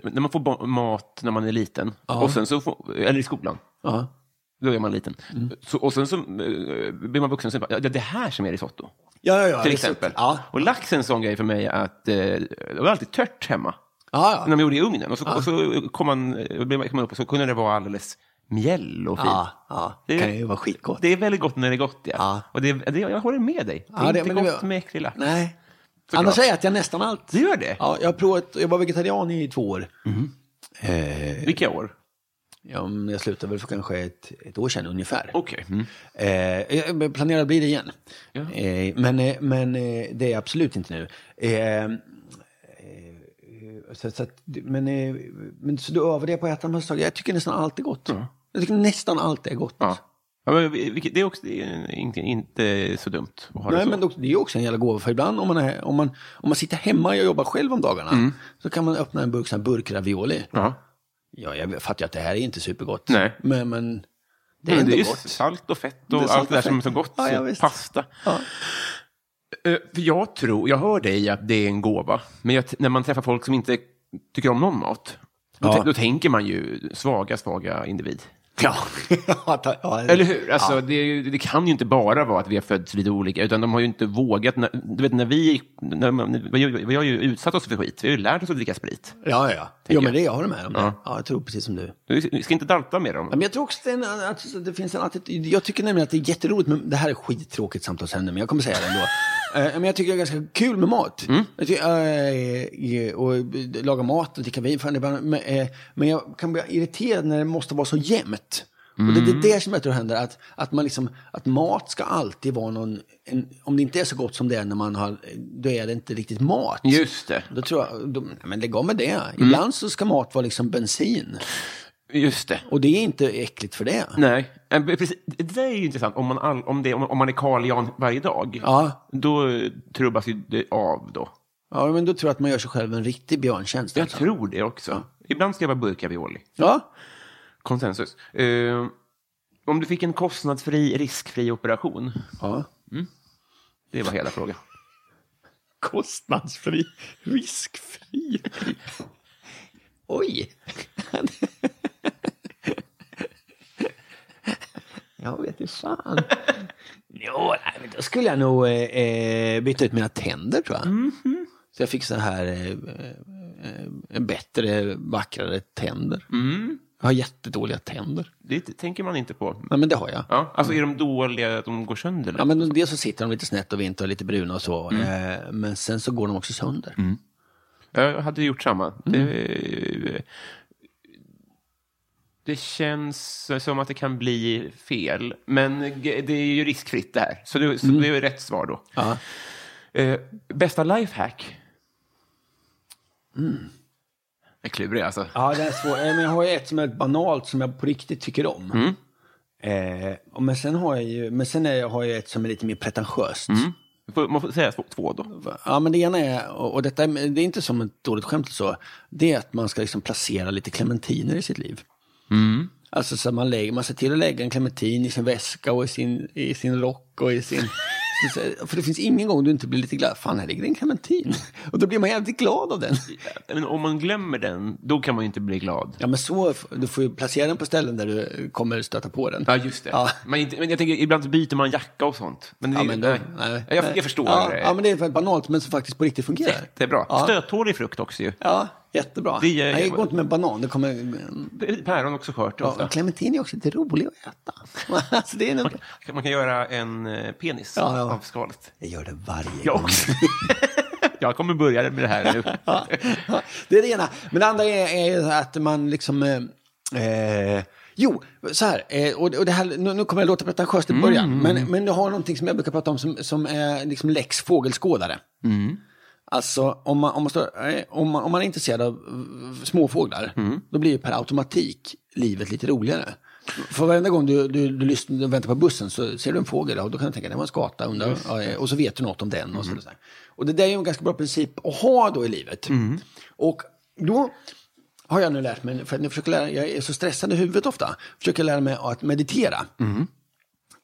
Speaker 1: när man får ba- mat när man är liten, och sen så får, eller i skolan,
Speaker 2: Ja.
Speaker 1: då är man liten.
Speaker 2: Mm.
Speaker 1: Så, och sen så eh, blir man vuxen och så bara, ja, det är det här som är risotto.
Speaker 2: Ja, ja, ja,
Speaker 1: till
Speaker 2: det är så-
Speaker 1: exempel.
Speaker 2: Ja.
Speaker 1: Och lax är en sån grej för mig att eh, det var alltid tört hemma.
Speaker 2: Ja, ja.
Speaker 1: När man gjorde i ugnen. Och så, och så kom, man, eh, blev man- kom man upp och så kunde det vara alldeles mjäll och fint.
Speaker 2: Ja, ja. Det kan ju vara skitgott.
Speaker 1: Det är väldigt gott när det är gott, ja.
Speaker 2: Ja.
Speaker 1: Och det, det, jag håller med dig. Det är
Speaker 2: Ja,
Speaker 1: inte
Speaker 2: men
Speaker 1: gott med äcklig lax.
Speaker 2: Nej.
Speaker 1: Såklart.
Speaker 2: Annars äter jag nästan allt.
Speaker 1: Du gör det? Mhm.
Speaker 2: Ja, jag, har provat, jag var vegetarian i två år. Eh,
Speaker 1: Vilka år?
Speaker 2: Ja, men jag slutade väl för kanske ett, ett år sedan ungefär.
Speaker 1: Okej. mm.
Speaker 2: Eh, jag planerar att bli det igen. Eh, men eh, men eh, det är jag absolut inte nu. Eh, eh, så, så att, men, eh, men, så du övar det på att äta mustag? Jag tycker nästan allt är gott. Jag tycker nästan allt är gott.
Speaker 1: Ja. Ja, men, vilket, det är också det är inte, inte så dumt att ha det
Speaker 2: Nej,
Speaker 1: så.
Speaker 2: men dock, det är ju också en jävla gåva, för ibland om man, är, om man, om man sitter hemma och jobbar själv om dagarna
Speaker 1: Mm.
Speaker 2: så kan man öppna en burk sån här burkravioli.
Speaker 1: Ja.
Speaker 2: Ja, jag fattar ju att det här är inte supergott.
Speaker 1: Nej.
Speaker 2: Men, men det
Speaker 1: Det
Speaker 2: är
Speaker 1: är, det
Speaker 2: ändå
Speaker 1: är ju
Speaker 2: gott.
Speaker 1: salt och fett
Speaker 2: Det
Speaker 1: och
Speaker 2: är salt
Speaker 1: allt det där
Speaker 2: och
Speaker 1: som är
Speaker 2: fett.
Speaker 1: så gott.
Speaker 2: Ja, ja,
Speaker 1: så
Speaker 2: visst.
Speaker 1: pasta.
Speaker 2: Ja.
Speaker 1: Eh, För jag tror, jag hör dig att det är en gåva, men jag, t- när man träffar folk som inte tycker om någon mat, då,
Speaker 2: Ja.
Speaker 1: tän- då tänker man ju svaga, svaga individ.
Speaker 2: Ja. Ja, ta- ja,
Speaker 1: Eller hur? Alltså, det, är ju- det kan ju inte bara vara att vi har fötts lite olika, utan de har ju inte vågat. När, du vet, när vi, gick- när, man- vi, vi har ju utsatt oss för skit. Vi har ju lärt oss att dricka sprit.
Speaker 2: Ja, ja. Jo,
Speaker 1: tänker
Speaker 2: men det
Speaker 1: jag.
Speaker 2: jag håller med om det. Ja. jag tror precis som du.
Speaker 1: Du du ska inte dalta med dem.
Speaker 2: Ja, Men jag tror också att det, är en, att det finns en attityd. Jag tycker nämligen att det är jätteroligt med, det här är skittråkigt samtalsämne, men jag kommer säga det ändå. Eh, men jag tycker det är ganska kul med mat. Jag tycker, eh, och laga mat och dricka vin. Fan, det är bara, men, eh, men jag kan bli irriterad när det måste vara så jämnt. Och det, det är det som jag tror händer, att, att, man liksom, att mat ska alltid vara någon... En, om det inte är så gott som det är när man har... Då är det inte riktigt mat.
Speaker 1: Just det.
Speaker 2: Då tror jag, då, nej, men lägg av med det. Ibland så ska mat vara liksom bensin.
Speaker 1: Just det.
Speaker 2: Och det är inte äckligt för det.
Speaker 1: Nej, eh, precis. Det där är ju intressant. Om man, all, om det, om, om man är Carl Jan varje dag,
Speaker 2: Ja.
Speaker 1: då eh, trubbas ju det av då.
Speaker 2: Ja, men då tror jag att man gör sig själv en riktig björntjänst.
Speaker 1: Jag
Speaker 2: alltså.
Speaker 1: tror det också. Ibland ska jag vara burkavioli.
Speaker 2: Ja,
Speaker 1: Konsensus. Eh, om du fick en kostnadsfri, riskfri operation,
Speaker 2: ja.
Speaker 1: det var hela frågan.
Speaker 2: Kostnadsfri, riskfri. Oj. jag vet inte fan. Jo, nej, men då skulle jag nog eh, eh, byta ut mina tänder tror jag. Så jag fick så här eh, eh, eh, bättre, vackrare tänder. Jag har jättedåliga tänder.
Speaker 1: Det tänker man inte på.
Speaker 2: Nej, men det har jag.
Speaker 1: Ja, alltså är de dåliga att de går sönder?
Speaker 2: Ja, men dels så sitter de lite snett och vinter och lite bruna och så. Eh, men sen så går de också sönder.
Speaker 1: Jag hade gjort samma.
Speaker 2: Mm.
Speaker 1: Det, det känns som att det kan bli fel, men g- det är ju riskfritt det här. Så, du, så
Speaker 2: Mm.
Speaker 1: det är ju rätt svar då.
Speaker 2: Ja.
Speaker 1: Eh, bästa lifehack? Mm.
Speaker 2: Mm.
Speaker 1: Jag är klurig alltså.
Speaker 2: Ja, det är svårt. Eh, Men jag har ju ett som är banalt som jag på riktigt tycker om. Eh, och men sen har jag ju men sen är, har jag ett som är lite mer pretentiöst.
Speaker 1: Mm. Får- Man får säga två, två då.
Speaker 2: Ja, men det ena är, och och detta är, det är inte som ett dåligt skämt eller så, det är att man ska liksom placera lite clementiner i sitt liv. Alltså så att man, lägger, man ser till att lägga en clementin i sin väska och i sin, i sin rock och i sin... så- så- För det finns ingen gång du inte blir lite glad. Fan, här ligger en clementin. Och då blir man jävligt glad av den.
Speaker 1: Men om man glömmer den, då kan man ju inte bli glad.
Speaker 2: Ja, men så, du får ju placera den på ställen där du kommer stöta på den.
Speaker 1: Ja, just det.
Speaker 2: Ja.
Speaker 1: Men, inte- men jag tänker, ibland så byter man jacka och sånt. Men det,
Speaker 2: Ja, men då,
Speaker 1: nej.
Speaker 2: nej,
Speaker 1: jag,
Speaker 2: nej.
Speaker 1: jag förstår
Speaker 2: ja,
Speaker 1: det.
Speaker 2: Ja, men det är väldigt banalt, men som faktiskt på riktigt fungerar.
Speaker 1: Jättebra.
Speaker 2: Ja.
Speaker 1: Stöthårig frukt också ju.
Speaker 2: Ja, jättebra.
Speaker 1: Det är-
Speaker 2: Nej, det går inte med banan, det kommer...
Speaker 1: Päron också skört
Speaker 2: Ja,
Speaker 1: ofta.
Speaker 2: och clementin är också lite rolig att äta. Alltså, det är nog...
Speaker 1: Man kan göra en eh, penis
Speaker 2: Ja, ja.
Speaker 1: av skalet.
Speaker 2: Jag gör det varje
Speaker 1: Jag
Speaker 2: gång.
Speaker 1: också. jag kommer börja med det här nu.
Speaker 2: Ja, ja, det är det ena. Men det andra är, är att man liksom... Eh, eh, jo, så här. Eh, och, och det här nu, nu kommer jag låta pretentiöst i början.
Speaker 1: Mm.
Speaker 2: Men, men du har någonting som jag brukar prata om som, som är liksom lex fågelskådare. Alltså om man, om, man står, eh, om, man, om man är intresserad av eh, småfåglar, då blir ju per automatik livet lite roligare. För varenda gång du, du, du, lyssnar, du väntar på bussen så ser du en fågel ja, och då kan du tänka det var en skata undrar, eh, och så vet du något om den. Och, så, och så här. och det där är ju en ganska bra princip att ha då i livet. Och då har jag nu lärt mig, för att jag, försöker lära, jag är så stressad i huvudet ofta, försöker lära mig att meditera.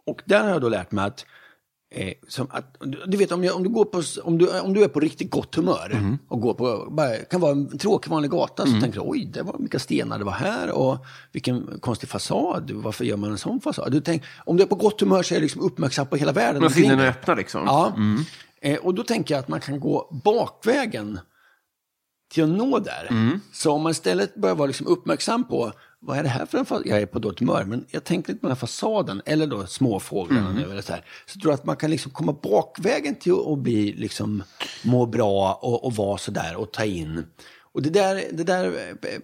Speaker 2: Och där har jag då lärt mig att, eh, som att du- du vet om, jag, om, du går på, s- om, du, om du är på riktigt gott humör och går på, bara, kan vara en tråkig vanlig gata, så tänker du oj, det var vilka stenar det var här och vilken konstig fasad, varför gör man en sån fasad? Du tänk, om du är på gott humör så är du liksom uppmärksam på hela världen.
Speaker 1: Man
Speaker 2: omkring
Speaker 1: sinnen är
Speaker 2: dig.
Speaker 1: öppna liksom.
Speaker 2: Ja. Eh, och då tänker jag att man kan gå bakvägen till att nå där. Så om man istället börjar vara liksom uppmärksam på vad är det här för en fasad? Jag är på dåligt humör, men jag tänkte inte på den här fasaden, eller då småfåglarna nu, eller så här. Så tror jag att man kan liksom komma bakvägen till att att bli, liksom, må bra och, och vara sådär och ta in. Och det, där, det där,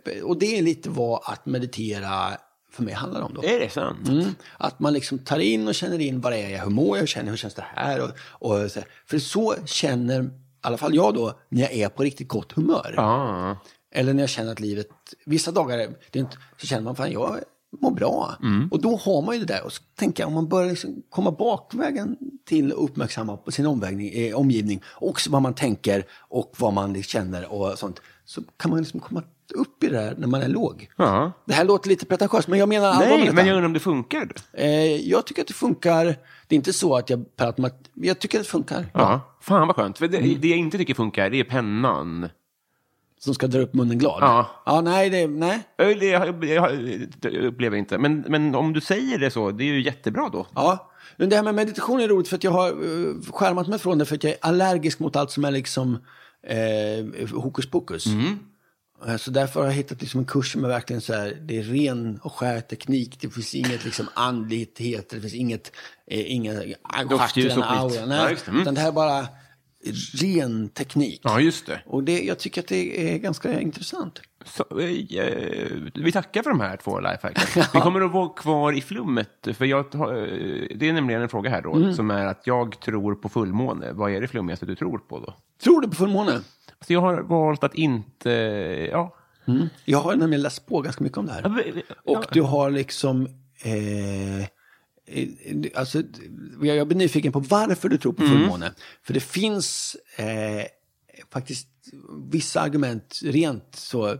Speaker 2: eh, och det är lite vad att meditera för mig handlar om då.
Speaker 1: Är det sant?
Speaker 2: Mm. Att man liksom tar in och känner in vad det är jag, hur mår jag, hur känner jag, hur känns det här? Och, och så, här. för så känner, i alla fall jag då, när jag är på riktigt gott humör.
Speaker 1: Ja.
Speaker 2: Eller när jag känner att livet, vissa dagar är- det är inte, så känner man fan jag mår bra.
Speaker 1: Mm.
Speaker 2: Och då har man ju det där. Och så tänker jag om man börjar liksom komma bakvägen till att uppmärksamma på sin omvägning, eh, omgivning, också vad man tänker och vad man liksom känner och sånt, så kan man liksom komma upp i det där när man är låg.
Speaker 1: Ja.
Speaker 2: Det här låter lite pretentiöst, men jag menar allvar med
Speaker 1: Nej,
Speaker 2: detta.
Speaker 1: men jag undrar om det funkar.
Speaker 2: Eh, jag tycker att det funkar. Det är inte så att jag per automat- Jag tycker att det funkar.
Speaker 1: Ja. Fan vad skönt. För det,
Speaker 2: Mm.
Speaker 1: det jag inte tycker funkar, det är pennan.
Speaker 2: Som ska dra upp munnen glad.
Speaker 1: Ja.
Speaker 2: ja nej, det, nej.
Speaker 1: Ö, det- Jag, jag, jag upplever inte. Men, men om du säger det så, det är ju jättebra då.
Speaker 2: Ja. Men det här med meditation är roligt för att jag har eh, skärmat mig
Speaker 1: Mm.
Speaker 2: från det för att jag är allergisk mot allt som är liksom eh, hokus pokus. Eh, Så därför har jag hittat liksom en kurs som är verkligen så här, det är ren och skär teknik. Det finns inget liksom andlighet, det finns inget, eh, inga
Speaker 1: Doftljus och
Speaker 2: stjärten,
Speaker 1: skit.
Speaker 2: aura.
Speaker 1: Ja,
Speaker 2: Nej,
Speaker 1: just det. Mm.
Speaker 2: utan det här är bara ren teknik.
Speaker 1: Ja, just det.
Speaker 2: Och det, jag tycker att det är ganska intressant.
Speaker 1: Så, eh, eh, vi tackar för de här två lifehackarna. Vi kommer att vara kvar i flummet. För jag, tar- eh, det är nämligen en fråga här då, som är att jag tror på fullmåne. Vad är det flummigaste du tror på då?
Speaker 2: Tror du på fullmåne?
Speaker 1: Så jag har valt att inte... eh, Ja.
Speaker 2: Mm. Jag har nämligen läst på ganska mycket om det här. Och du har liksom... Eh, eh, alltså, jag jag blir nyfiken på varför du tror på
Speaker 1: Mm.
Speaker 2: fullmåne. För det finns eh, faktiskt vissa argument, rent så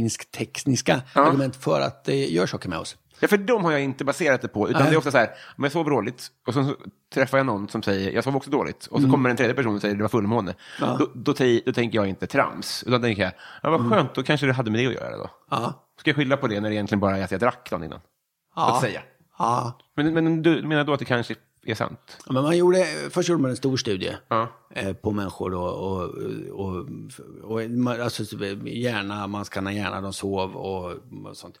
Speaker 2: forskningstekniska argument för att det gör saker med oss.
Speaker 1: Ja, för de har jag inte baserat det på. Utan det är ofta så här, om jag sover dåligt och sen så träffar jag någon som säger, jag sov också dåligt. Och så kommer en tredje person och säger, det var fullmåne. Då, då, te- då tänker jag inte trams. Utan tänker jag, ja, vad skönt, då kanske det hade med det att göra då.
Speaker 2: Ja.
Speaker 1: Ska jag skylla på det när det egentligen bara är att jag drack dagen innan?
Speaker 2: Ja.
Speaker 1: Att säga.
Speaker 2: Ja.
Speaker 1: Men, men du menar då att det kanske är sant?
Speaker 2: Ja, Men man gjorde, först gjorde man en stor studie
Speaker 1: Ja.
Speaker 2: eh, på människor då, och, och, och, man- alltså, så hjärna, man skannade hjärna, de sov och, och sånt.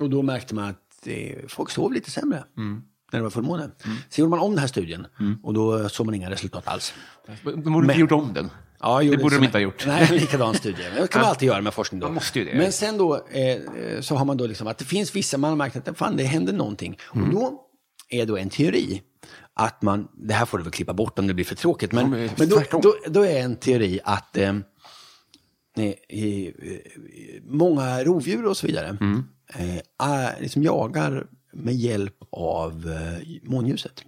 Speaker 2: Och då märkte man att eh, folk sov lite sämre när det var fullmåne. Sen gjorde man om den här studien och då såg man inga resultat alls.
Speaker 1: Men De borde inte gjort om den.
Speaker 2: Ja, jag
Speaker 1: det
Speaker 2: gjorde
Speaker 1: borde
Speaker 2: som-
Speaker 1: de inte ha gjort.
Speaker 2: Nej, en likadan studie. Men Det kan man alltid göra med forskning. Då.
Speaker 1: Man måste ju det.
Speaker 2: Men sen då eh, så har man då liksom att det finns vissa, man har märkt att fan, det händer någonting.
Speaker 1: Mm.
Speaker 2: Och då är då en teori att man, det här får du väl klippa bort om det blir för tråkigt, men,
Speaker 1: men
Speaker 2: men då,
Speaker 1: tvärtom.
Speaker 2: då, då är en teori att eh, eh, eh, många rovdjur och så vidare
Speaker 1: Mm.
Speaker 2: eh, är, liksom jagar med hjälp av eh, månljuset.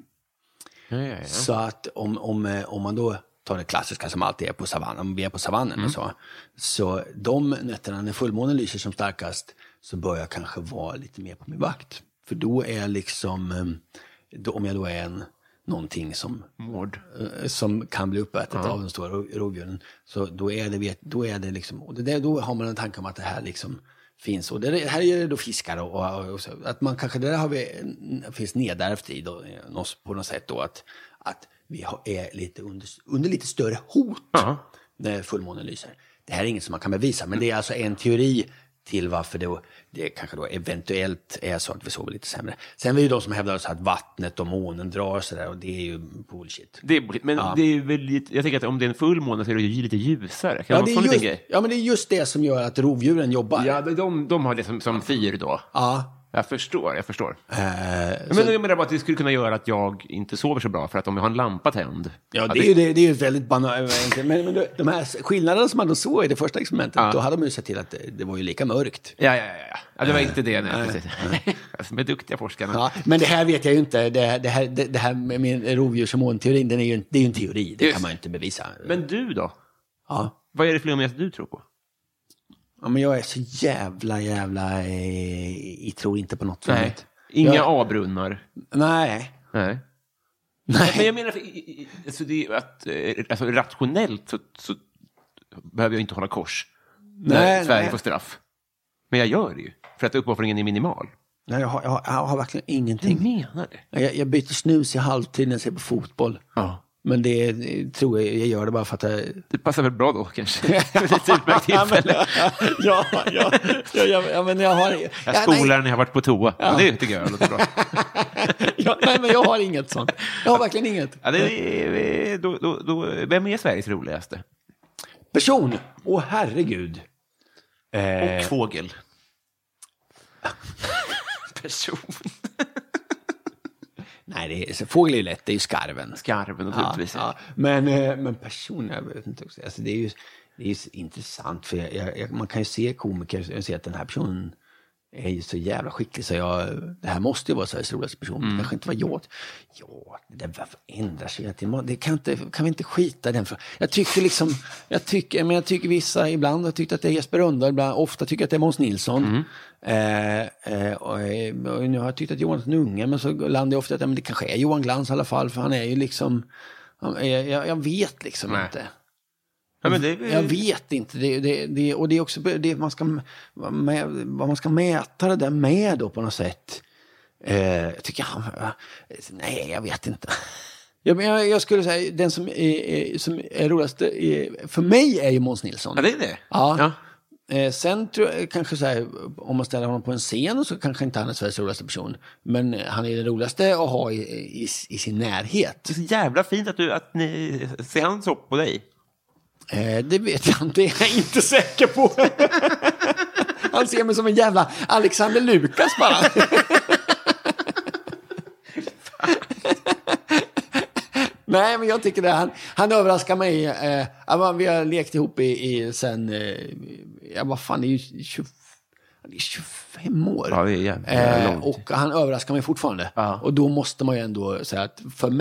Speaker 1: Ja, ja, ja.
Speaker 2: Så att om, om, eh, om man då tar det klassiska som alltid är på savannen, om vi är på savannen och så. Så de nätterna när fullmånen lyser som starkast så bör jag kanske vara lite mer på min vakt. För då är jag liksom, eh, då, om jag då är en, någonting som,
Speaker 1: Mord.
Speaker 2: eh, som kan bli uppätet av de stora ro- rovdjuren, så då är det, vet- då är det liksom, och det där, då har man en tanke om att det här liksom finns. Och det här är det då fiskar och, och, och så, att man kanske, det där har vi, n- finns nedärvt i då, eh, oss på något sätt då att, att vi har, är lite under, under lite större hot
Speaker 1: Ja.
Speaker 2: när fullmånen lyser. Det här är inget som man kan bevisa, men det är alltså en teori till varför det, det kanske då eventuellt är så att vi sover lite sämre. Sen är det ju de som hävdar så att vattnet och månen drar sig där och det är ju bullshit.
Speaker 1: Det är, bull- men det är väl, lite- jag tänker att om det är en full månad så är det ju lite ljusare. Kan
Speaker 2: Ja,
Speaker 1: det vara en
Speaker 2: det är
Speaker 1: sån liten
Speaker 2: just,
Speaker 1: grej?
Speaker 2: ja, men det är just det som gör att rovdjuren jobbar.
Speaker 1: Ja, de- de, de har det som, som fyr då.
Speaker 2: Ja,
Speaker 1: Jag förstår, jag förstår.
Speaker 2: eh,
Speaker 1: Men jag menar bara att det skulle kunna göra att jag inte sover så bra för att om jag har en lampa tänd.
Speaker 2: Ja,
Speaker 1: att
Speaker 2: det är ju det, det är ju ett väldigt banalt. Men, men de här skillnaderna som man då såg i det första experimentet,
Speaker 1: Ja.
Speaker 2: då hade de ju sett till att det, det var ju lika mörkt.
Speaker 1: Ja, ja, ja, ja. ja. Det var inte det, nej. precis. Alltså, de är duktiga forskarna.
Speaker 2: Ja, men det här vet jag ju inte. Det, det, här, det, det här med min rovdjurs och månteorin, den är ju, en- det är ju en teori. Det
Speaker 1: Just.
Speaker 2: kan man ju inte bevisa.
Speaker 1: Men du då?
Speaker 2: ja.
Speaker 1: Vad är det flummigaste du tror på?
Speaker 2: ja, men jag är så jävla, jävla... Eh, jag tror inte på något sånt.
Speaker 1: Inga
Speaker 2: Jag-
Speaker 1: A-brunnar?
Speaker 2: Nej.
Speaker 1: Nej. Men jag menar, för, i- i- i- alltså, det är ju att, eh, alltså, rationellt så, så behöver jag inte hålla kors när
Speaker 2: Nej,
Speaker 1: Sverige
Speaker 2: nej.
Speaker 1: får straff. Men jag gör det ju, för att uppoffringen är minimal.
Speaker 2: Nej, jag har, jag har, jag har verkligen ingenting.
Speaker 1: Jag menar det.
Speaker 2: Jag, jag byter snus i halvtid när jag ser på fotboll.
Speaker 1: Ja.
Speaker 2: Men det är- tror jag, jag gör det bara för att jag...
Speaker 1: Det passar väl bra då, kanske. det är Typ ett utmärkt tillfälle.
Speaker 2: ja, ja, ja, ja, ja, men jag har...
Speaker 1: Jag
Speaker 2: ja,
Speaker 1: skolar när jag har varit på toa. Ja. Det tycker jag låter bra.
Speaker 2: nej, ja, nej, men jag har inget sånt. Jag har verkligen inget.
Speaker 1: Ja, det är, då, då, då, vem är Sveriges roligaste?
Speaker 2: Person! Åh, herregud.
Speaker 1: Och fågel. Person.
Speaker 2: Nej, det är, så fågel är ju lätt. Det är ju skarven.
Speaker 1: Skarven, naturligtvis.
Speaker 2: Ja, ja. Men, eh, men person, jag vet inte. också. Alltså, det är ju det är ju så intressant, för jag, jag, jag, man kan ju se komiker och se att den här personen är ju så jävla skicklig så jag, det här måste ju vara Sveriges roligaste person. Det kanske inte var jag. Ja, det där ändrar sig hela tiden. Det kan, inte, kan vi inte skita i den frågan? Jag tycker liksom, jag tycker, men jag tycker vissa ibland, jag tyckte att det är Jesper Rönndahl, ibland, ofta tycker jag att det är Måns Nilsson. Eh, eh, och, eh, och nu har jag tyckt att Johan Unge, men så landar jag ofta i att ja, men det kanske är Johan Glans i alla fall, för han är ju liksom, han är- jag, jag vet liksom
Speaker 1: Nej.
Speaker 2: inte.
Speaker 1: Ja, men det,
Speaker 2: Jag vet inte. Det, det, det, och det är också det man ska, vad med, vad man ska mäta det där med då på något sätt. Eh, jag tycker han, nej jag vet inte. Jag, men jag, jag skulle säga den som är, är, som är roligast eh, för mig är ju Måns Nilsson.
Speaker 1: Ja, det är det.
Speaker 2: Ja. Eh, sen tror jag kanske så här, om man ställer honom på en scen så kanske inte han är Sveriges roligaste person. Men han är den roligaste att ha i, i, i sin närhet.
Speaker 1: Det är så jävla fint att, du, att ni ser han så på dig.
Speaker 2: Eh, det vet jag inte, det är jag inte säker på. Han ser mig som en jävla Alexander Lukas bara. Nej, men jag tycker det. Han, han överraskar mig. Eh, ja, men vi har lekt ihop i, i sen, eh, ja vad fan, det är ju 20, han är 25 år.
Speaker 1: Ja, det är jävla
Speaker 2: eh,
Speaker 1: lång tid.
Speaker 2: och han överraskar mig fortfarande.
Speaker 1: Ja.
Speaker 2: Och då måste man ju ändå säga att för mig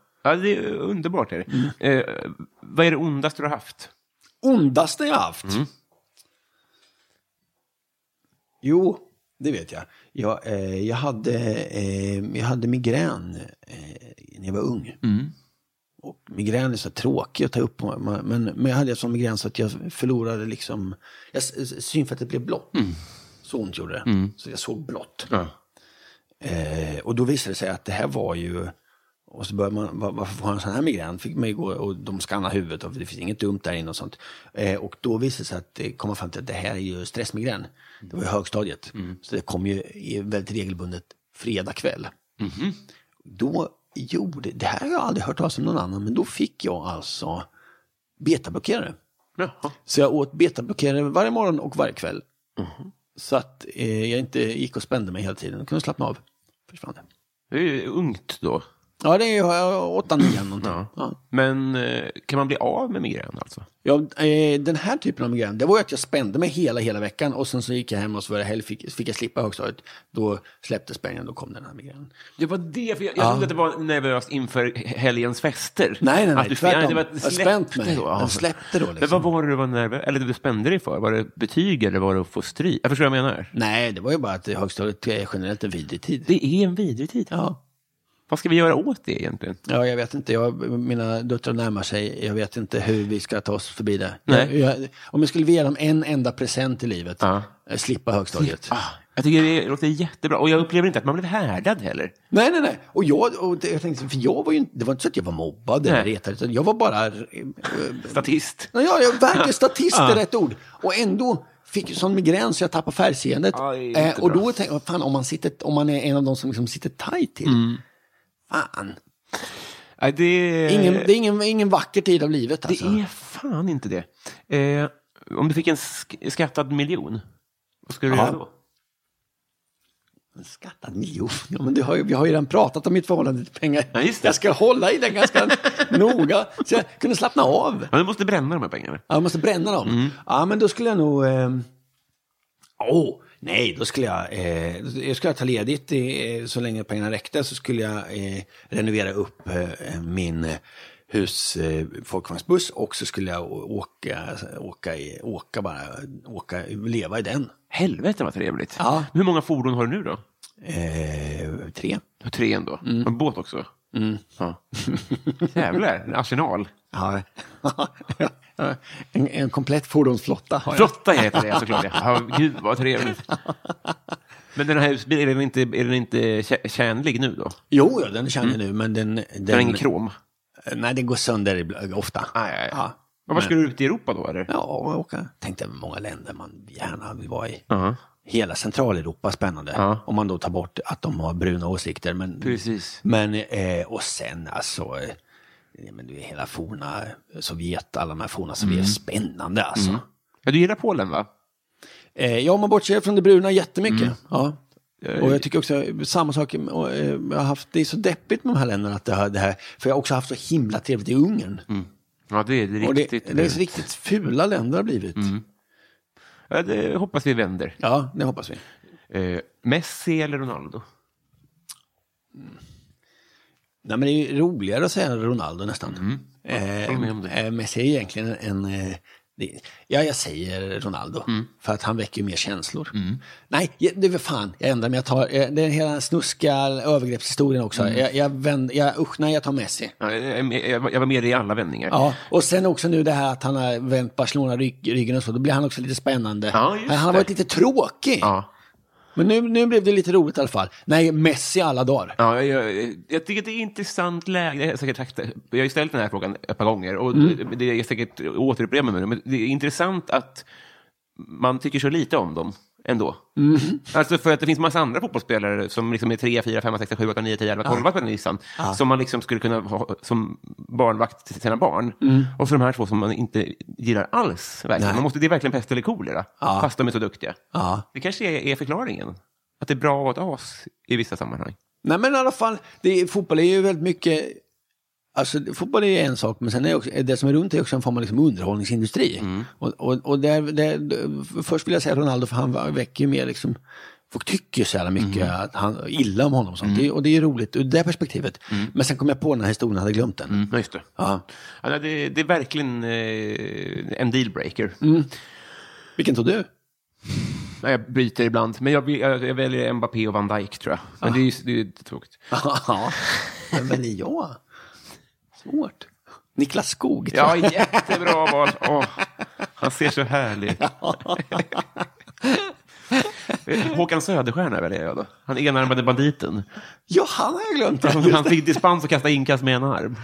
Speaker 1: ja, det är underbart. Är det. Eh, vad är det ondaste du har haft?
Speaker 2: ondaste jag haft? Jo, det vet jag. Jag, eh, jag, hade, eh, jag hade migrän eh, när jag var ung. Och migrän är så tråkig att ta upp. ma- ma- Men, men jag hade sån migrän så att jag förlorade liksom... Jag, s- s- synfältet blev blått. Så ont gjorde det. Så jag såg blått. Eh, och då visade det sig att det här var ju... Och så började man, "Va- varför får han sån här migrän? Fick man ju gå och de skannade huvudet och det finns inget dumt där inne och sånt. Eh, och då visade det sig att det kom fram till att det här är ju stressmigrän. Det var ju högstadiet. Så det kom ju i- väldigt regelbundet fredag kväll. Då gjorde, det här har jag aldrig hört talas om någon annan, men då fick jag alltså betablockerare.
Speaker 1: Jaha.
Speaker 2: Så jag åt betablockerare varje morgon och varje kväll. Så att eh, jag inte gick och spände mig hela tiden. Jag kunde slappna av. Försvann det.
Speaker 1: Det är ju ungt då.
Speaker 2: Ja, det är ju eh, åtta, nio någonting.
Speaker 1: Ja.
Speaker 2: Ja.
Speaker 1: Men eh, kan man bli av med migrän alltså?
Speaker 2: Ja, eh, den här typen av migrän, det var ju att jag spände mig hela, hela veckan och sen så gick jag hem och så var det helg, fick, fick jag slippa högstadiet. Då släppte spänningen, då kom den här migränen.
Speaker 1: Det var det, för jag, jag trodde att det var nervöst inför helgens fester.
Speaker 2: Nej, nej, nej,
Speaker 1: Att du,
Speaker 2: tvärtom.
Speaker 1: ja, det var,
Speaker 2: Jag
Speaker 1: släppte
Speaker 2: spänt mig.
Speaker 1: Då.
Speaker 2: Jag släppte då, liksom.
Speaker 1: Men vad var det du var nervös Eller du spände dig för? Var det betyg eller var det att få stryk? Jag förstår vad jag menar.
Speaker 2: Nej, det var ju bara att högstadiet är generellt en vidrig tid.
Speaker 1: Det är en vidrig tid.
Speaker 2: Ja.
Speaker 1: Vad ska vi göra åt det egentligen?
Speaker 2: ja, jag vet inte, jag, mina döttrar närmar sig, jag vet inte hur vi ska ta oss förbi det.
Speaker 1: Nej.
Speaker 2: Jag, jag, om jag skulle ge dem en enda present i livet,
Speaker 1: Ja.
Speaker 2: eh, slippa högstadiet.
Speaker 1: Ah, jag tycker det låter jättebra. Och jag upplever inte att man blev härdad heller.
Speaker 2: Nej, nej, nej. Och jag, och det, jag tänkte, för jag var ju inte, det var inte så att jag var mobbad eller
Speaker 1: Nej.
Speaker 2: retad, utan jag var bara eh,
Speaker 1: Statist.
Speaker 2: Ja, Ja, jag verkligen statist är rätt ord. Och ändå fick jag sån migrän så jag tappade färgseendet.
Speaker 1: Ja, det är inte
Speaker 2: eh, och
Speaker 1: bra.
Speaker 2: då tänkte jag, fan om man, sitter, om man är en av de som liksom sitter tajt till.
Speaker 1: Mm.
Speaker 2: Fan,
Speaker 1: Nej, det...
Speaker 2: ingen, det är ingen, ingen vacker tid av livet alltså.
Speaker 1: Det är fan inte det. Eh, om du fick en sk- skattad miljon, vad skulle du
Speaker 2: Ja.
Speaker 1: göra då?
Speaker 2: En skattad miljon. Ja, men det har, ju- vi har ju redan pratat om mitt förhållande till pengar.
Speaker 1: Ja, just det.
Speaker 2: jag ska hålla i den ganska noga så jag kunde slappna av.
Speaker 1: Ja, du måste bränna de här pengarna.
Speaker 2: Ja, jag måste bränna dem.
Speaker 1: Mm.
Speaker 2: Ja, men då skulle jag nog... Åh, eh... åh, nej, då skulle jag... Eh... Jag skulle ta ledigt eh, så länge pengarna räckte. Så skulle jag eh, renovera upp eh, min eh, hus, eh, folkvagnsbuss. Och så skulle jag å- åka, åka, i, åka bara, åka, leva i den.
Speaker 1: Helvete vad trevligt.
Speaker 2: Ja.
Speaker 1: Hur många fordon har du nu då?
Speaker 2: Eh, tre.
Speaker 1: Du har tre ändå. En båt också? Ja. Jävlar, en arsenal.
Speaker 2: Ja. en, en komplett fordonsflotta har jag.
Speaker 1: Flotta heter det såklart. Ja, gud vad trevligt. Men den här husbilen, är den inte, är den inte tjä- tjänlig nu då?
Speaker 2: Jo, ja, den känner jag nu, men Mm. den... Den,
Speaker 1: Den har ingen krom?
Speaker 2: Nej, den går sönder ibland- ofta.
Speaker 1: Nej, nej.
Speaker 2: Ja.
Speaker 1: Men... Var ska du ut i Europa då? Eller?
Speaker 2: Ja, och åka. Tänkte många länder man gärna vill vara i.
Speaker 1: Ja.
Speaker 2: hela Centraleuropa spännande. Om man då tar bort att de har bruna åsikter. Men,
Speaker 1: Precis.
Speaker 2: Men, eh, och sen alltså, eh, ja, men det är hela forna Sovjet, alla de här forna Sovjet,
Speaker 1: Mm.
Speaker 2: spännande alltså.
Speaker 1: Mm. Ja, du gillar Polen va?
Speaker 2: Eh, ja, om man bortser från det bruna jättemycket.
Speaker 1: Mm.
Speaker 2: Ja. Och jag tycker också, samma sak, och, eh, jag har haft, det är så deppigt med de här länderna, att det här, det här, för jag har också haft så himla trevligt i Ungern.
Speaker 1: Ja, det är det
Speaker 2: Och det,
Speaker 1: riktigt. Mm.
Speaker 2: det är så riktigt fula länder har blivit.
Speaker 1: Ja, det hoppas vi vänder.
Speaker 2: Ja, det hoppas vi.
Speaker 1: Eh, Messi eller Ronaldo?
Speaker 2: Nej, men det är ju roligare att säga Ronaldo nästan.
Speaker 1: Mm. håller med om det.
Speaker 2: Eh, eh, Messi är egentligen en... eh, det, ja, jag säger Ronaldo.
Speaker 1: Mm.
Speaker 2: För att han väcker ju mer känslor. Nej, jag- det är väl fan, jag ändrar mig. Jag tar, eh, det är hela den snuska övergreppshistorien också.
Speaker 1: Mm.
Speaker 2: Jag, jag vänd, jag, usch, nej, jag tar Messi.
Speaker 1: Ja, jag, jag, jag var med i alla vändningar.
Speaker 2: Ja, och sen också nu det här att han har vänt Barcelona rygg, ryggen och så. Då blir han också lite spännande.
Speaker 1: Ja, just
Speaker 2: han har
Speaker 1: det.
Speaker 2: varit lite tråkig.
Speaker 1: Ja.
Speaker 2: Men nu, nu blev det lite roligt i alla fall. Nej, Messi alla dagar.
Speaker 1: Ja, jag, jag, jag tycker det är ett intressant läge. Jag har, säkert, sagt det. jag har ju ställt den här frågan ett par gånger och det- det är säkert återupprepar mig nu, men det är intressant att man tycker så lite om dem ändå. Alltså för att det finns massa andra fotbollsspelare som liksom är 3, 4, 5, 6, 7, 8, 9, 10, 11, 12 på den listan som man liksom skulle kunna ha som barnvakt till sina barn. Och så de här två som man inte gillar alls. Verkligen.
Speaker 2: Nej.
Speaker 1: Man måste, det är verkligen pest eller kolera, fast de är så duktiga.
Speaker 2: Ja.
Speaker 1: Det kanske är, är förklaringen. Att det är bra att vara ett as i vissa sammanhang.
Speaker 2: Nej men i alla fall, det är, fotboll är ju väldigt mycket... Alltså fotboll är ju en sak, men sen är det också, det som är runt är också en form av liksom underhållningsindustri.
Speaker 1: Mm.
Speaker 2: Och, och, och där, där, först vill jag säga Ronaldo, för han väcker ju mer liksom... Folk tycker så jävla mycket
Speaker 1: Mm.
Speaker 2: att han, illa om honom och sånt. Det, är- och det är ju roligt ur det perspektivet.
Speaker 1: Mm.
Speaker 2: Men sen kom jag på den här historien, hade glömt den.
Speaker 1: Ja, just det.
Speaker 2: Ja.
Speaker 1: Ja, nej, det, det är verkligen eh, en dealbreaker.
Speaker 2: Mm. Vilken tog du?
Speaker 1: Nej, Jag bryter ibland, men jag, jag, jag väljer Mbappé och Van Dijk tror jag. Men det är ju
Speaker 2: Ah.
Speaker 1: det är ju tråkigt.
Speaker 2: Ja, vem väljer jag? Svårt. Niklas Skog. tror
Speaker 1: Ja,
Speaker 2: jag.
Speaker 1: jättebra val. Åh, han ser så härlig ut. Eh, Håkan Söderstjärna väljer jag då. Han enarmade banditen.
Speaker 2: ja, han har jag glömt.
Speaker 1: Han fick dispens att kasta inkast med en arm.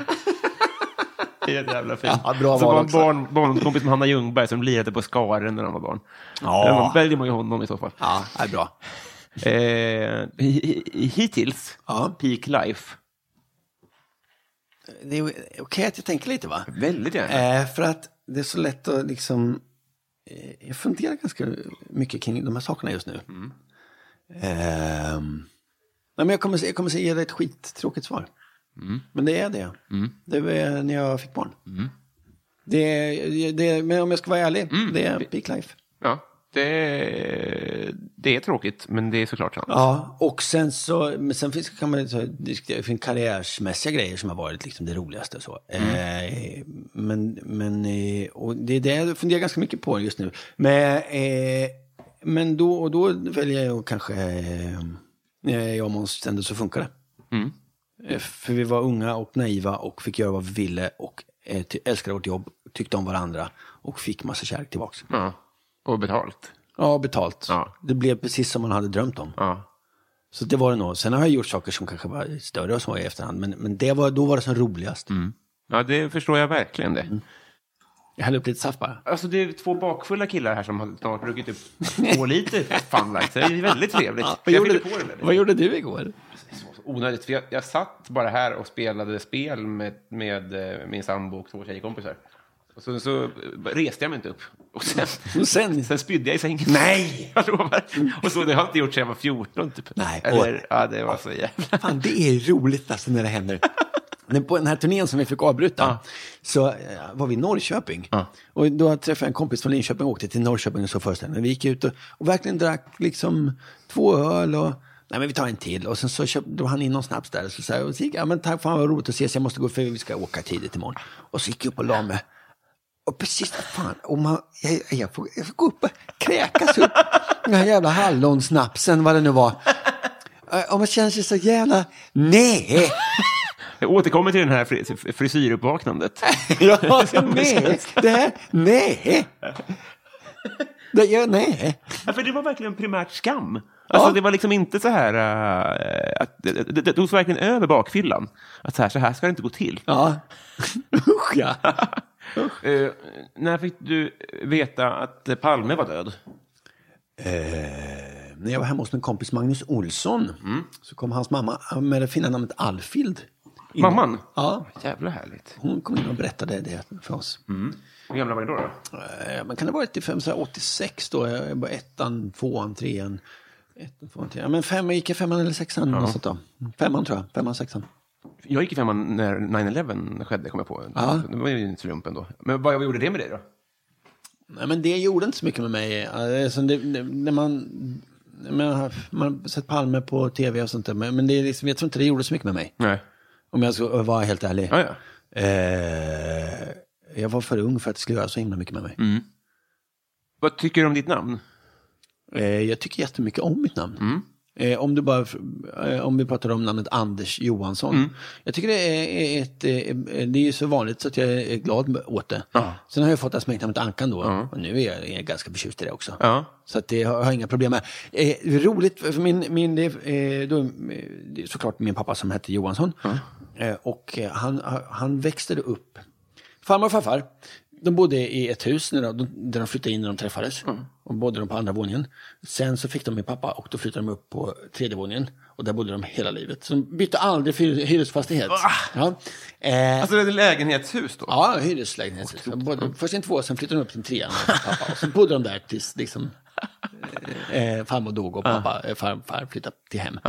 Speaker 1: Det är ett jävla fint.
Speaker 2: Ja, bra
Speaker 1: så
Speaker 2: val
Speaker 1: var en
Speaker 2: också.
Speaker 1: barn, barnkompis med Hanna Ljungberg som lirade på Skaren när han var barn.
Speaker 2: Ja.
Speaker 1: Då väljer man ju honom i så fall.
Speaker 2: Ja, det är bra.
Speaker 1: Eh, hi- hi- hittills,
Speaker 2: Ja.
Speaker 1: peak life.
Speaker 2: Det är okej att jag tänker lite va?
Speaker 1: Väldigt gärna.
Speaker 2: Eh, för att det är så lätt att liksom... eh, Jag funderar ganska mycket kring de här sakerna just nu. Ehm, nej, men jag kommer, jag kommer ge dig ett skittråkigt svar.
Speaker 1: Mm.
Speaker 2: Men det är det. Det var när jag fick barn. Det, är- det, är- men om jag ska vara ärlig,
Speaker 1: Mm.
Speaker 2: det är peak life.
Speaker 1: Ja, det, det är tråkigt, men det är såklart sant.
Speaker 2: Ja, och sen så, men sen finns, kan man ju så diskutera, det finns karriärsmässiga grejer som har varit liksom det roligaste. Så. Eh, men, men, eh, och det är det jag funderar ganska mycket på just nu. Men, eh, men då, och då väljer jag kanske, eh, eh, jag och Måns ändå så funkar det. Eh, För vi var unga och naiva och fick göra vad vi ville och eh, ty- älskade vårt jobb, tyckte om varandra och fick massa kärlek tillbaks.
Speaker 1: Ja. Och betalt.
Speaker 2: Ja, betalt.
Speaker 1: Ja.
Speaker 2: Det blev precis som man hade drömt om.
Speaker 1: Ja.
Speaker 2: Så det var det nog. Sen har jag gjort saker som kanske var större och så i efterhand. Men, men det var, då var det som roligast.
Speaker 1: Mm. ja, det förstår jag verkligen det.
Speaker 2: Mm. Jag hällde upp lite saft bara.
Speaker 1: Alltså det är två bakfulla killar här som har snart druckit upp två liter funlight. Det är väldigt trevligt.
Speaker 2: vad,
Speaker 1: jag
Speaker 2: gjorde,
Speaker 1: fyllde på det väldigt.
Speaker 2: vad gjorde du igår?
Speaker 1: Onödigt, för jag, jag satt bara här och spelade spel med, med eh, min sambo och två tjejkompisar. Och så, så eh, reste jag mig inte upp. Och sen,
Speaker 2: Och sen?
Speaker 1: sen spydde jag i sängen.
Speaker 2: Nej!
Speaker 1: Jag lovar. Och så, det har jag inte gjort sedan jag var 14 typ.
Speaker 2: Nej,
Speaker 1: Eller,
Speaker 2: och-
Speaker 1: ja, det var så jävla...
Speaker 2: Fan, det är roligt alltså när det händer. Men På den här turnén som vi fick avbryta så eh, var vi i Norrköping. Och då träffade jag en kompis från Linköping och åkte till Norrköping och så föreställningen. Vi gick ut och, och verkligen drack liksom två öl och Nej men vi tar en till och sen så köpte drog han in någon snaps där. Så sa jag, och så gick jag, ja, men tack fan vad roligt att ses, jag måste gå för vi ska åka tidigt imorgon. Och så gick jag upp och la mig. Och precis, fan, och man, jag, jag, får, jag får gå upp och kräkas upp den här jävla hallonsnapsen, vad det nu var. Eh, Och man känner sig så jävla, nej!
Speaker 1: Jag återkommer till den här fri- frisyruppvaknandet.
Speaker 2: Ja, alltså, nej, det här, nej! Det gör, nej.
Speaker 1: Ja, för det var verkligen primärt skam. Alltså,
Speaker 2: Ja.
Speaker 1: Det var liksom inte så här... eh, att, det, det, det togs verkligen över bakfyllan. Att så här, så här ska det inte gå till.
Speaker 2: Ja, usch ja.
Speaker 1: Eh, när fick du veta att Palme var död?
Speaker 2: Eh, när jag var hemma hos min kompis Magnus Olsson så kom hans mamma med det fina namnet Alfhild. in.
Speaker 1: Mamman?
Speaker 2: Ja.
Speaker 1: Jävla härligt.
Speaker 2: Hon kom in och berättade det för oss.
Speaker 1: Hur gamla var ni då? då?
Speaker 2: Eh, Men kan det ha varit till fem, så här 86 då? Jag var ettan, tvåan, trean. Ettan, tvåan, trean. Ja, Men fem, gick jag femman eller sexan? Något sånt då. Femman tror jag. Femman, sexan.
Speaker 1: Jag gick i femman när 9-11 skedde, kom jag på.
Speaker 2: Ja.
Speaker 1: Det var ju en slump ändå. Men vad gjorde det med dig då?
Speaker 2: Nej, men det gjorde inte så mycket med mig. Alltså, det, det, när man, man, har- man har sett Palme på tv och sånt där. Men, men det är liksom, jag tror inte det gjorde så mycket med mig.
Speaker 1: Nej.
Speaker 2: Om jag ska vara helt ärlig.
Speaker 1: Ja, ja.
Speaker 2: Eh, jag var för ung för att det skulle göra så himla mycket med mig.
Speaker 1: Mm. Vad tycker du om ditt namn?
Speaker 2: Eh, jag tycker jättemycket om mitt namn. Eh, om, du bara, eh, om vi pratar om namnet Anders Johansson. Jag tycker det är, ett, eh, det är ju så vanligt så att jag är glad åt det. Sen har jag fått det här smeknamnet Ankan då. Och nu är jag, är jag ganska förtjust i det också.
Speaker 1: Ja.
Speaker 2: Så att det har har jag inga problem med. Eh, roligt, för min, min, det, är, eh, då, eh, det är såklart min pappa som hette Johansson. Eh, och eh, han, han växte upp. Farmor och farfar, de bodde i ett hus när de, där de flyttade in när de träffades. Och bodde de på andra våningen. Sen så fick de min pappa och då flyttade de upp på tredje våningen. Och där bodde de hela livet. Så de bytte aldrig fyr- hyresfastighet. Ja. Eh,
Speaker 1: Alltså, det är ett lägenhetshus då?
Speaker 2: Ja, hyreslägenhet. De bodde- Först i en tvåa, sen flyttade de upp till en trea. med pappa. Och så bodde de där tills liksom, eh, farmor dog och pappa, eh, farfar flyttade till hem.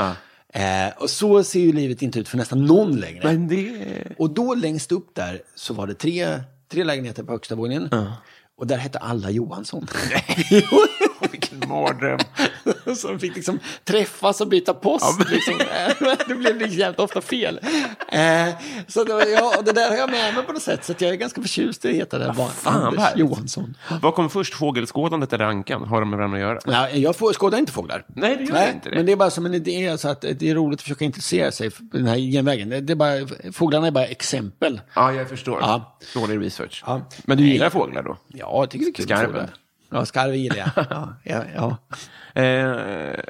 Speaker 2: Eh, och så ser ju livet inte ut för nästan någon längre.
Speaker 1: Men det...
Speaker 2: Och då längst upp där så var det tre, tre lägenheter på högsta våningen. Och där hette alla Johansson.
Speaker 1: Vilken mardröm.
Speaker 2: som fick liksom träffas och byta post. liksom. det blev liksom jävligt ofta fel. Eh, så det, var- ja, och det där har jag med mig på något sätt, så att jag är ganska förtjust i att heta det. här barnet.
Speaker 1: fan, vad
Speaker 2: Anders
Speaker 1: härligt.
Speaker 2: Johansson.
Speaker 1: Vad kom först, fågelskådandet eller ankan? Har de med varandra att göra?
Speaker 2: Ja, jag får, skådar inte fåglar.
Speaker 1: Nej, det gör inte det.
Speaker 2: Men det är bara som en idé, så att det är roligt att försöka intressera sig för den här genvägen. Det är bara, fåglarna är bara exempel.
Speaker 1: Ja, jag förstår.
Speaker 2: Ja.
Speaker 1: Dålig research.
Speaker 2: Ja.
Speaker 1: Men du
Speaker 2: Nej.
Speaker 1: gillar fåglar då?
Speaker 2: Ja, jag tycker det är kul med
Speaker 1: Skarven.
Speaker 2: fåglar. Ja, skarven gillar jag. Ja, ja, ja.
Speaker 1: Eh,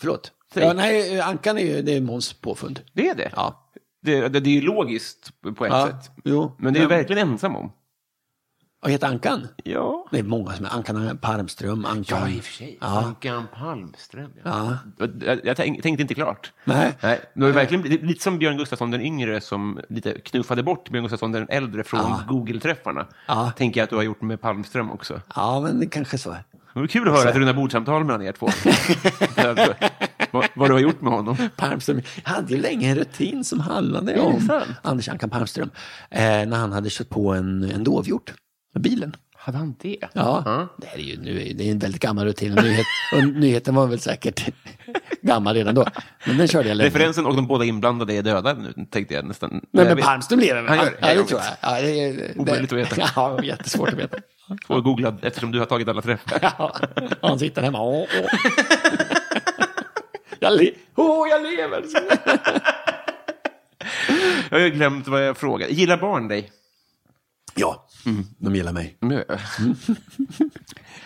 Speaker 2: Förlåt.
Speaker 1: Säg.
Speaker 2: Ja, nej, ankan är ju det är Måns påfund.
Speaker 1: det är det?
Speaker 2: Ja.
Speaker 1: Det, det, det är ju logiskt på ett
Speaker 2: Ja,
Speaker 1: sätt.
Speaker 2: jo.
Speaker 1: Men det är ju
Speaker 2: Men-
Speaker 1: verkligen ensam om.
Speaker 2: Och heter Ankan?
Speaker 1: Ja.
Speaker 2: Det är många som är Ankan Parmström, Ankan...
Speaker 1: Ja, i och för sig. Ankan Palmström.
Speaker 2: Ja.
Speaker 1: Jag, jag tänk, tänkte inte klart.
Speaker 2: Nej.
Speaker 1: Nej, det var ju verkligen det är lite som Björn Gustafsson den yngre som lite knuffade bort Björn Gustafsson den äldre från Google-träffarna.
Speaker 2: Ja.
Speaker 1: Tänker jag att du har gjort med Palmström också.
Speaker 2: Ja, men det kanske är så.
Speaker 1: Det var kul att höra ett rundabordssamtal mellan er två. vad, vad du har gjort med
Speaker 2: Mm.
Speaker 1: honom.
Speaker 2: Palmström jag hade ju länge en rutin som handlade
Speaker 1: det
Speaker 2: om
Speaker 1: sant?
Speaker 2: Anders Ankan Palmström. Eh, när han hade kört på en, en dovhjort med bilen.
Speaker 1: Hade han det?
Speaker 2: Ja, det här är ju nu, är- det är en väldigt gammal rutin. Och, nyhet, och nyheten var väl säkert gammal redan då. Men den körde jag länge.
Speaker 1: Referensen och de båda inblandade är döda nu, tänkte jag nästan.
Speaker 2: Nej,
Speaker 1: Jag
Speaker 2: men
Speaker 1: vet-
Speaker 2: Palmström lever väl?
Speaker 1: Han gör det.
Speaker 2: Ja, det
Speaker 1: Jag
Speaker 2: tror
Speaker 1: vet.
Speaker 2: jag. Ja, det, är- det,
Speaker 1: Omöjligt att veta.
Speaker 2: Ja, jättesvårt att veta.
Speaker 1: Och googlad eftersom du har tagit alla träffar.
Speaker 2: Ja, han sitter hemma. Åh, åh. Jag, le- åh, jag lever!
Speaker 1: Jag har ju glömt vad jag frågade. Gillar barn dig?
Speaker 2: Ja, de gillar mig.
Speaker 1: Mm.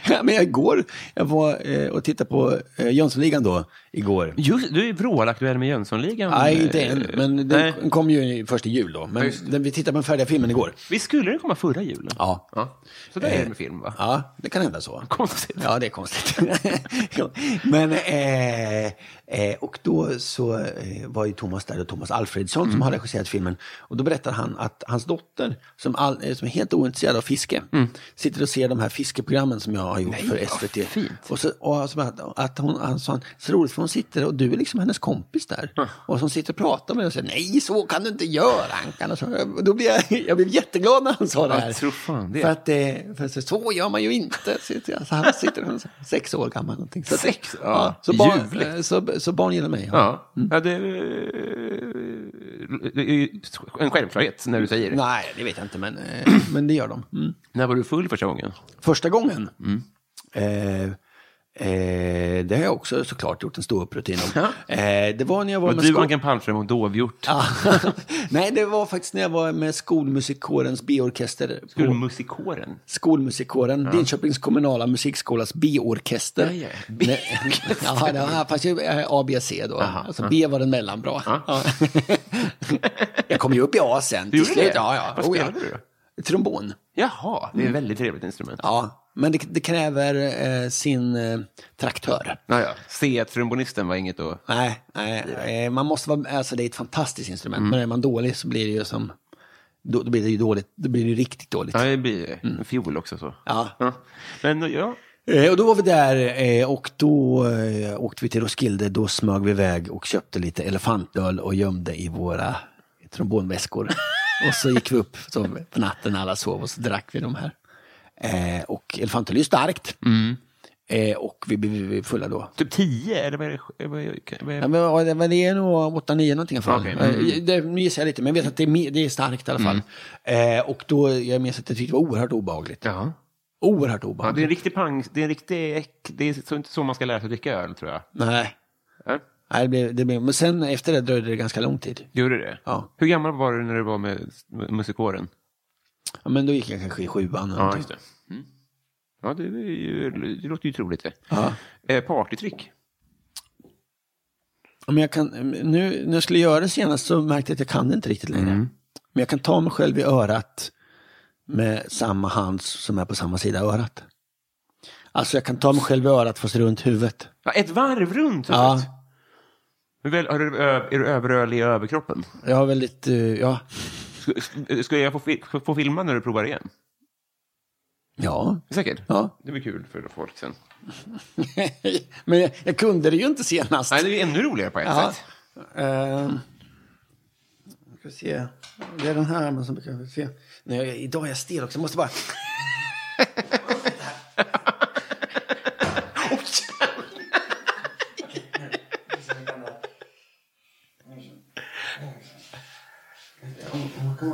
Speaker 2: Ja, men jag igår, jag var eh, och tittade på eh, Jönssonligan då, igår.
Speaker 1: Just, du är vrålaktuell med Jönssonligan. eh,
Speaker 2: Nej, inte än, men den
Speaker 1: Nej.
Speaker 2: kom ju först i jul då. Men den, vi tittade på den färdiga filmen igår.
Speaker 1: Visst skulle den komma förra julen?
Speaker 2: Ja. Eh,
Speaker 1: Så där är det med film, va?
Speaker 2: Ja, det kan hända så.
Speaker 1: Konstigt.
Speaker 2: Ja, det är konstigt. Ja. Men, eh, eh, och då så eh, var ju Thomas där, och Thomas Alfredsson
Speaker 1: Mm.
Speaker 2: som har regisserat filmen. Och då berättar han att hans dotter, som, all, eh, som är helt ointresserad av fiske,
Speaker 1: Mm.
Speaker 2: sitter och ser de här fiskeprogrammen som jag har gjort för SVT. Och så, och alltså, att, att hon, han sa, så roligt för hon sitter och du är liksom hennes kompis där. Och som sitter och pratar med dig och säger, nej så kan du inte göra Ankan. Och så, och då blev jag, jag blev jätteglad när han sa det
Speaker 1: Ja,
Speaker 2: här.
Speaker 1: jag tror fan det.
Speaker 2: För att det, för så, så gör man ju inte. Så han sitter hon är sex år gammal. Någonting. Så, att-
Speaker 1: Sex? Ja,
Speaker 2: så, barn,
Speaker 1: ljuvligt.
Speaker 2: eh, så, så barn gillar mig. Ja.
Speaker 1: Ja. ja det, eh, det är ju en självklarhet när du säger det.
Speaker 2: Nej, det vet jag inte, men, eh, men det gör de. Mm.
Speaker 1: När var du full första gången?
Speaker 2: Första gången, eh, eh, det har jag också såklart gjort en stor upprutin om. Eh, det var när jag var
Speaker 1: Var
Speaker 2: med
Speaker 1: du
Speaker 2: sko-
Speaker 1: Ankan Palmström och dovhjort?
Speaker 2: Ja. Nej, det var faktiskt när jag var med skolmusikkårens B-orkester. på-
Speaker 1: Skolmusikåren?
Speaker 2: skolmusikkåren, Linköpings kommunala musikskolas B-orkester.
Speaker 1: Ja, ja.
Speaker 2: ja, det här fanns ju eh, A, B, C då. alltså B var den mellanbra. Ja. jag kom ju upp i A sen.
Speaker 1: Du
Speaker 2: till
Speaker 1: gjorde
Speaker 2: slut.
Speaker 1: det?
Speaker 2: Ja, ja.
Speaker 1: Vad
Speaker 2: Oh, ja.
Speaker 1: spelade du då?
Speaker 2: trombon.
Speaker 1: Jaha, det är ett väldigt trevligt instrument.
Speaker 2: Mm. Ja, men det, det kräver eh, sin eh, traktör.
Speaker 1: Ja, ja. C-trombonisten var inget att...
Speaker 2: Nej, nej, nej, man måste vara, alltså det är ett fantastiskt instrument,
Speaker 1: Mm.
Speaker 2: men är man dålig så blir det ju som, då, då blir det ju dåligt, då blir det ju riktigt dåligt.
Speaker 1: Ja, det blir en fiol också så.
Speaker 2: Mm. Ja.
Speaker 1: Men ja,
Speaker 2: Eh, Och då var vi där eh, och då eh, åkte vi till Roskilde, då smög vi iväg och köpte lite elefantöl och gömde i våra trombonväskor. och så gick vi upp så, på natten när alla sov och så drack vi de här. Eh, och elefantöl är ju starkt.
Speaker 1: Mm.
Speaker 2: Eh, och vi blev fulla då.
Speaker 1: typ tio, eller vad är det? Vad är- vad är-
Speaker 2: Ja, men, ja, det- men det är nog 8-9 någonting i alla fall.
Speaker 1: Okej, mm.
Speaker 2: Eh, det- Nu gissar jag lite, men jag vet att det är, me- det är starkt i alla fall.
Speaker 1: Mm.
Speaker 2: Eh, och då, jag minns att jag tyckte det var oerhört obehagligt.
Speaker 1: Ja.
Speaker 2: Oerhört
Speaker 1: Ja, det är
Speaker 2: obehagligt.
Speaker 1: en riktig pang, det är en riktig, äck- det är så, inte så man ska lära sig att dricka öl tror jag.
Speaker 2: Nej.
Speaker 1: Ja.
Speaker 2: Nej, det blev, det blev, men sen efter det dröjde det ganska lång tid.
Speaker 1: Gjorde det?
Speaker 2: Ja.
Speaker 1: Hur gammal var du när du var med med musikåren?
Speaker 2: Ja, men då gick jag kanske i sjuan. eller någonting.
Speaker 1: Mm. Ja, det, är ju, det låter ju troligt det.
Speaker 2: Ja.
Speaker 1: Eh, partytrick?
Speaker 2: Ja, Men jag kan, nu, när jag skulle göra det senast så märkte jag att jag kan det inte riktigt längre. Men jag kan ta mig själv i örat med samma hand som är på samma sida av örat. Alltså jag kan ta mig själv i örat fast runt huvudet.
Speaker 1: Ja, ett varv runt?
Speaker 2: Ja,
Speaker 1: huvudet. Men väl, har du, ö- är du överrörlig i överkroppen?
Speaker 2: jag har väldigt, eh, ja.
Speaker 1: Ska, ska jag få, fi- få filma när du provar igen?
Speaker 2: Ja.
Speaker 1: Säkert?
Speaker 2: ja.
Speaker 1: Det blir kul för folk sen.
Speaker 2: Men jag, jag kunde det ju inte senast.
Speaker 1: Nej, det är ju ännu roligare på ett
Speaker 2: Ja.
Speaker 1: sätt.
Speaker 2: Ehm, ska vi se. Det är den här men som brukar vi se. Nej, jag, idag är jag stel också. Jag måste bara... Ska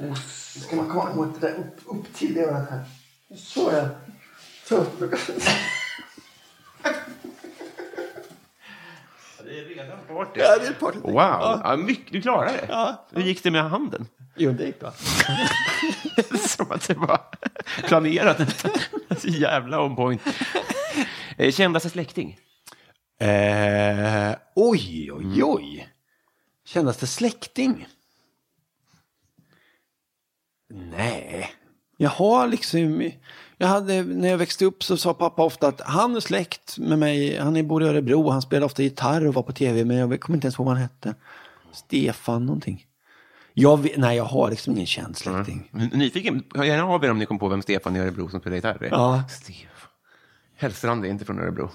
Speaker 2: man, ska man komma åt det där upp, upp till det örat här? Så ja. Så. Ja, det är party.
Speaker 1: Wow, ja, mycket, du klarar det. Hur gick det med handen?
Speaker 2: Jo, det gick bra.
Speaker 1: Som att det var planerat. Så jävla on point. Eh, Kändaste släkting?
Speaker 2: Eh, oj, oj, oj. Kändaste släkting? Nej. Jag har liksom... Jag hade, när jag växte upp så sa pappa ofta att han är släkt med mig. Han är bor i Örebro och han spelade ofta gitarr och var på tv. Men jag kommer inte ens ihåg vad han hette. Stefan någonting. Jag, vet- nej, jag har liksom ingen känd släkting.
Speaker 1: Nyfiken, hör gärna av er om ni kom på vem Stefan i Örebro som spelar gitarr är.
Speaker 2: Ja.
Speaker 1: Stefan. Hellstrand är inte från Örebro.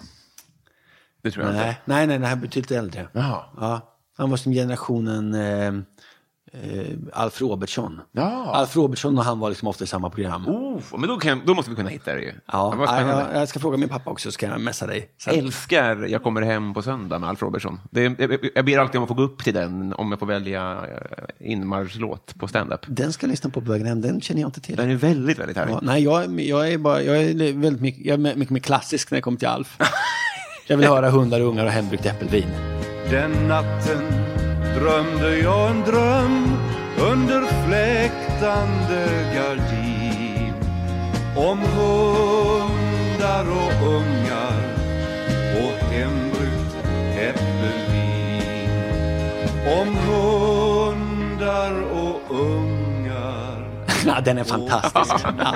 Speaker 1: Det tror jag inte.
Speaker 2: Nej, nej, nej, det här är betydligt äldre.
Speaker 1: Mm. Jaha.
Speaker 2: Ja, han var som generationen eh, eh, Alf Robertsson.
Speaker 1: Ja.
Speaker 2: Alf Robertsson och han var liksom ofta i samma program.
Speaker 1: Oh, men då, kan, då måste vi kunna hitta det ju.
Speaker 2: Ja,
Speaker 1: vad
Speaker 2: ja,
Speaker 1: spännande.
Speaker 2: jag, jag ska fråga min pappa också, ska jag messa dig. Så att-
Speaker 1: Älskar Jag kommer hem på söndag med Alf Robertsson. Det, är- jag, jag ber alltid om att få gå upp till den om jag får välja eh, inmarschlåt på stand-up.
Speaker 2: Den ska jag lyssna på på vägen hem, den känner jag inte till.
Speaker 1: Den är väldigt, väldigt härlig.
Speaker 2: Ja, nej, jag, jag är bara, jag är väldigt mycket, jag är mycket mer klassisk när det kommer till Alf. jag vill höra hundar och ungar och hembyggt äppelvin.
Speaker 6: Den natten drömde jag en dröm under fläktande gardin om hundar och ungar och hembrytt äppelvin. Om hundar och ungar
Speaker 2: Ja, den är
Speaker 1: Oh.
Speaker 2: fantastisk. Ja.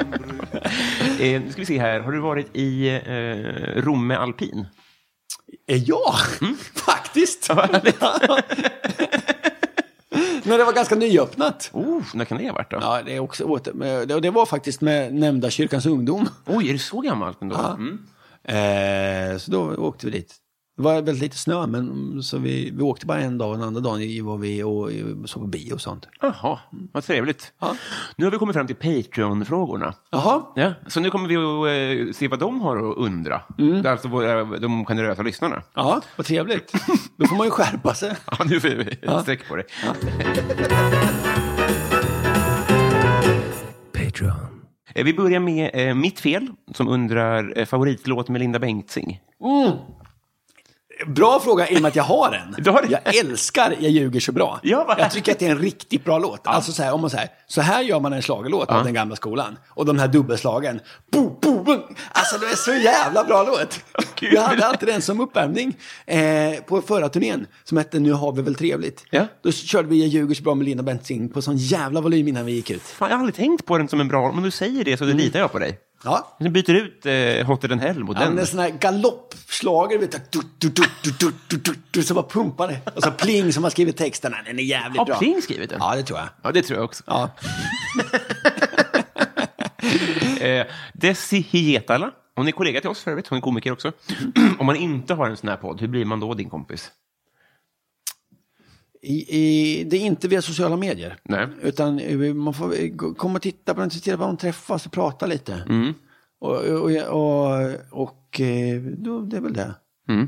Speaker 1: Eh, nu ska vi se här. Har du varit i eh, Romme Alpin?
Speaker 2: Eh, Ja,
Speaker 1: Mm.
Speaker 2: faktiskt. När det var ganska nyöppnat.
Speaker 1: Oh, när kan det ha varit då?
Speaker 2: Ja, det, är också åter, men det- och det var faktiskt med nämnda kyrkans ungdom.
Speaker 1: Oj, är det så gammalt ändå?
Speaker 2: Ja.
Speaker 1: Mm.
Speaker 2: Eh, så då åkte vi dit. Det var väldigt lite snö, men mm, så vi, vi åkte bara en dag och den andra dagen var vi och, och såg på bio och sånt.
Speaker 1: Jaha, vad trevligt. Nu har vi kommit fram till Patreon-frågorna.
Speaker 2: Jaha,
Speaker 1: Ja, så nu kommer vi att eh, se vad de har att undra. Det är alltså våra, de generösa lyssnarna.
Speaker 2: ja, vad trevligt. Då får man ju skärpa sig.
Speaker 1: Ja, nu får vi sträck på det.
Speaker 2: Patreon.
Speaker 1: Eh, Vi börjar med eh, Mitt fel, som undrar eh, favoritlåt med Linda Bengtzing.
Speaker 2: Bra fråga i och med att jag har en.
Speaker 1: Du har det?
Speaker 2: Jag älskar Jag ljuger så bra.
Speaker 1: Ja, vad
Speaker 2: jag tycker att det är en riktigt bra låt. Alltså så här, om man säger, så här gör man en schlagerlåt av den gamla skolan. Och de här dubbelslagen. Bo, bo, bo. Alltså det är så jävla bra låt.
Speaker 1: Kul.
Speaker 2: jag hade alltid den som uppvärmning eh, på förra turnén som hette Nu har vi väl trevligt.
Speaker 1: Ja.
Speaker 2: Då körde vi Jag ljuger så bra med Lina Bengtzing på sån jävla volym innan vi gick ut.
Speaker 1: Fan, jag har aldrig tänkt på den som en bra... Men du säger det så då litar jag på dig.
Speaker 2: Ja,
Speaker 1: Nu byter ut eh, Hotter than Hell mot
Speaker 2: Mm. Ja, men
Speaker 1: den.
Speaker 2: det är sån här galoppschlager, vet du. Du, du, du, du, du, du, du, du, som bara pumpar det. Och så Pling som har skrivit texten. Den är jävligt
Speaker 1: Har
Speaker 2: bra.
Speaker 1: Pling skrivit den?
Speaker 2: Ja, det tror jag.
Speaker 1: Ja, det tror jag också.
Speaker 2: Ja.
Speaker 1: Eh, Desi Hietala, hon är kollega till oss för övrigt, hon är komiker också. Om man inte har en sån här podd, hur blir man då din kompis?
Speaker 2: I, i, det är inte via sociala medier.
Speaker 1: Nej.
Speaker 2: Utan eh, man får eh, gå- komma och titta på den, titta på dem, träffas och prata lite. Och, och, och, och, och eh, då, det är väl det.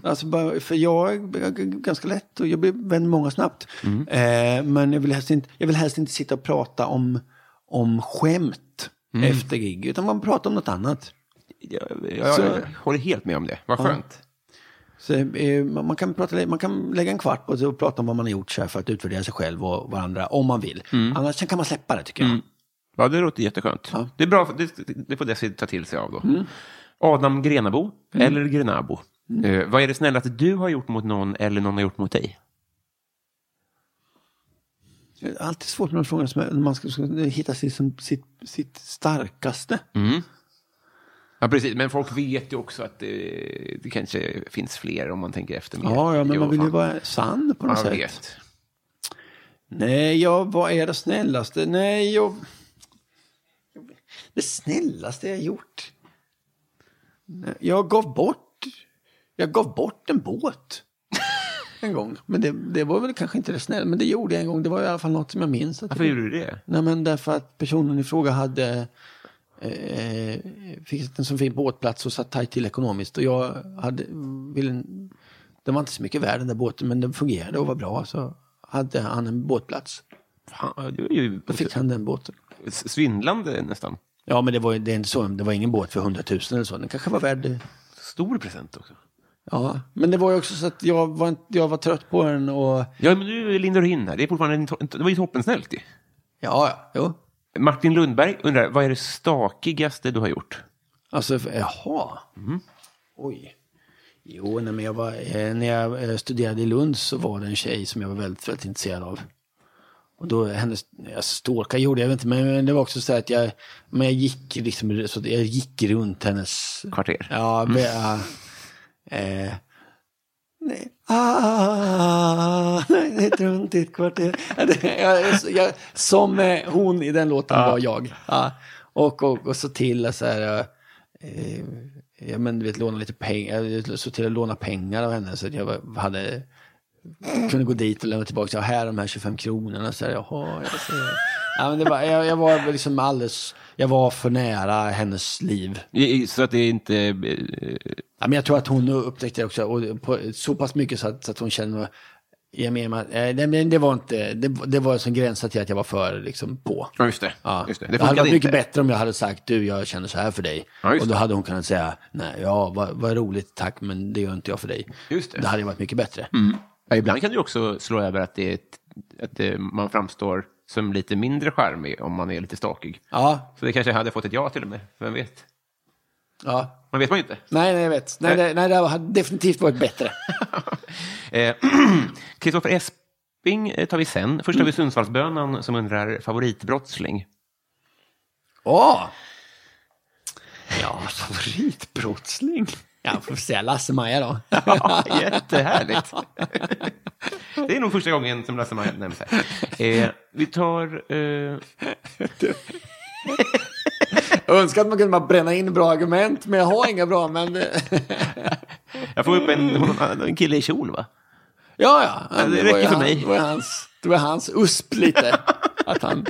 Speaker 2: Alltså bara, för jag är g- g- ganska lätt och jag blir vän med många snabbt. Eh, men jag vill, helst inte, jag vill helst inte sitta och prata om, om skämt efter gig, utan man pratar om något annat.
Speaker 1: Jag, jag,
Speaker 2: Så-
Speaker 1: jag håller helt med om det, vad
Speaker 2: Ja.
Speaker 1: skönt.
Speaker 2: Så, eh, man, man, kan prata, man kan lägga en kvart på det och prata om vad man har gjort så här för att utvärdera sig själv och varandra om man vill.
Speaker 1: Mm.
Speaker 2: Annars sen kan man släppa det tycker jag.
Speaker 1: Ja, det låter jätteskönt.
Speaker 2: Ja. Mm.
Speaker 1: Det, är bra, för- det, det får Desi ta till sig av då. Adam Grenabo, eller Grenabo. Eh, vad är det snällaste du har gjort mot någon eller någon har gjort mot dig?
Speaker 2: Det är alltid svårt med de frågorna som är, när man ska, ska hitta sitt, som, sitt, sitt starkaste.
Speaker 1: Mm. Ja, precis. Men folk vet ju också att eh, det kanske finns fler om man tänker efter. mer.
Speaker 2: Ja, ja, men
Speaker 1: Jo,
Speaker 2: man vill ju
Speaker 1: fan.
Speaker 2: vara sann på något
Speaker 1: Ja, jag
Speaker 2: sätt.
Speaker 1: vet.
Speaker 2: Nej, jag, vad är det snällaste? Nej, jag... Det snällaste jag gjort? Nej, Jag gav bort... Jag gav bort en båt. En gång. Men det, det var väl kanske inte det snälla, men det gjorde jag en gång. Det var i alla fall något som jag minns. Att
Speaker 1: Varför gjorde du det?
Speaker 2: Nej, men därför att personen i fråga hade eh, fick en så fin båtplats och satt tajt till ekonomiskt. Och jag hade, ville, den var inte så mycket värd den där båten, men den fungerade och var bra. Så hade han en båtplats.
Speaker 1: Fan, det var ju
Speaker 2: Då fick han den båten.
Speaker 1: svindlande nästan.
Speaker 2: Ja, men det var, ju- det är inte så, det var ingen båt för 100 000 eller så. Den kanske var värd... eh,
Speaker 1: Stor present också.
Speaker 2: Ja, men det var ju också så att jag var, inte- jag var trött på den och...
Speaker 1: Ja, men nu lindar du in här. Det, är fortfarande en to- det var ju toppensnällt ju.
Speaker 2: Ja, ja, jo.
Speaker 1: Martin Lundberg undrar, vad är det stakigaste du har gjort?
Speaker 2: Alltså, f- jaha. Oj. Jo, nej, men jag var, eh, när jag eh, studerade i Lund så var det en tjej som jag var väldigt, väldigt intresserad av. Och då, hennes, jag stalkar gjorde jag väl inte, men det var också så här att jag, men jag gick liksom, så att jag gick runt hennes...
Speaker 1: Kvarter.
Speaker 2: Ja, men, ja, eh, nej. Ah, nej, det är runt i ett kvarter. Ja, det- Jag, jag, som eh, hon i den låten var jag. Ja. Och, och, och så till att så här, eh, ja, men, du vet, låna lite pengar, så till att låna pengar av henne så att jag var- hade kunde gå dit och lämna tillbaka. Ja, här är de här 25 kronorna. Så här, Jaha, jag ser. Ja, men det var, jag, jag var liksom alldeles... Jag var för nära hennes liv.
Speaker 1: I- i- Så att det inte... eh,
Speaker 2: Ja, men jag tror att hon upptäckte det också, och på, så pass mycket så att, så att hon känner, jag menar, eh, nej, men det var inte, det, det var som gränsade till att jag var för liksom, på.
Speaker 1: Ja, just det.
Speaker 2: Ja.
Speaker 1: Just det.
Speaker 2: det
Speaker 1: det
Speaker 2: hade
Speaker 1: funkade
Speaker 2: varit
Speaker 1: inte.
Speaker 2: mycket bättre om jag hade sagt, du jag känner så här för dig.
Speaker 1: Ja, just
Speaker 2: och då
Speaker 1: det.
Speaker 2: hade hon kunnat säga, nej, ja, vad, vad roligt, tack, men det gör inte jag för dig.
Speaker 1: Just det. Mm.
Speaker 2: det hade ju varit mycket bättre.
Speaker 1: Ja, ibland kan du också slå över att, det är ett, att eh, man framstår som lite mindre charmig om man är lite stakig.
Speaker 2: Ja,
Speaker 1: Så det kanske hade fått ett ja till och med. Vem vet?
Speaker 2: ja.
Speaker 1: Man vet man ju inte.
Speaker 2: Nej, nej, jag vet. Nej,
Speaker 1: Nej.
Speaker 2: det, nej, det hade definitivt varit bättre.
Speaker 1: Eh, Kristoffer Esping eh, tar vi sen. Först har vi Sundsvallsbönan som undrar favoritbrottsling.
Speaker 2: Åh! Ja, favoritbrottsling. Ja, får säga Lasse-Maja då.
Speaker 1: Ja, jättehärligt. Det är nog första gången som Lasse Maja nämns här. Eh, vi tar... Eh,
Speaker 2: Jag önskar att man kunde bara bränna in bra argument, men jag har inga bra. Men... eh, Ja,
Speaker 1: jag får upp en, en kille i kjol, va?
Speaker 2: ja.
Speaker 1: Ja, det
Speaker 2: var ju
Speaker 1: räcker för
Speaker 2: han-
Speaker 1: mig.
Speaker 2: Det var, ju hans, det var hans USP lite. Att han,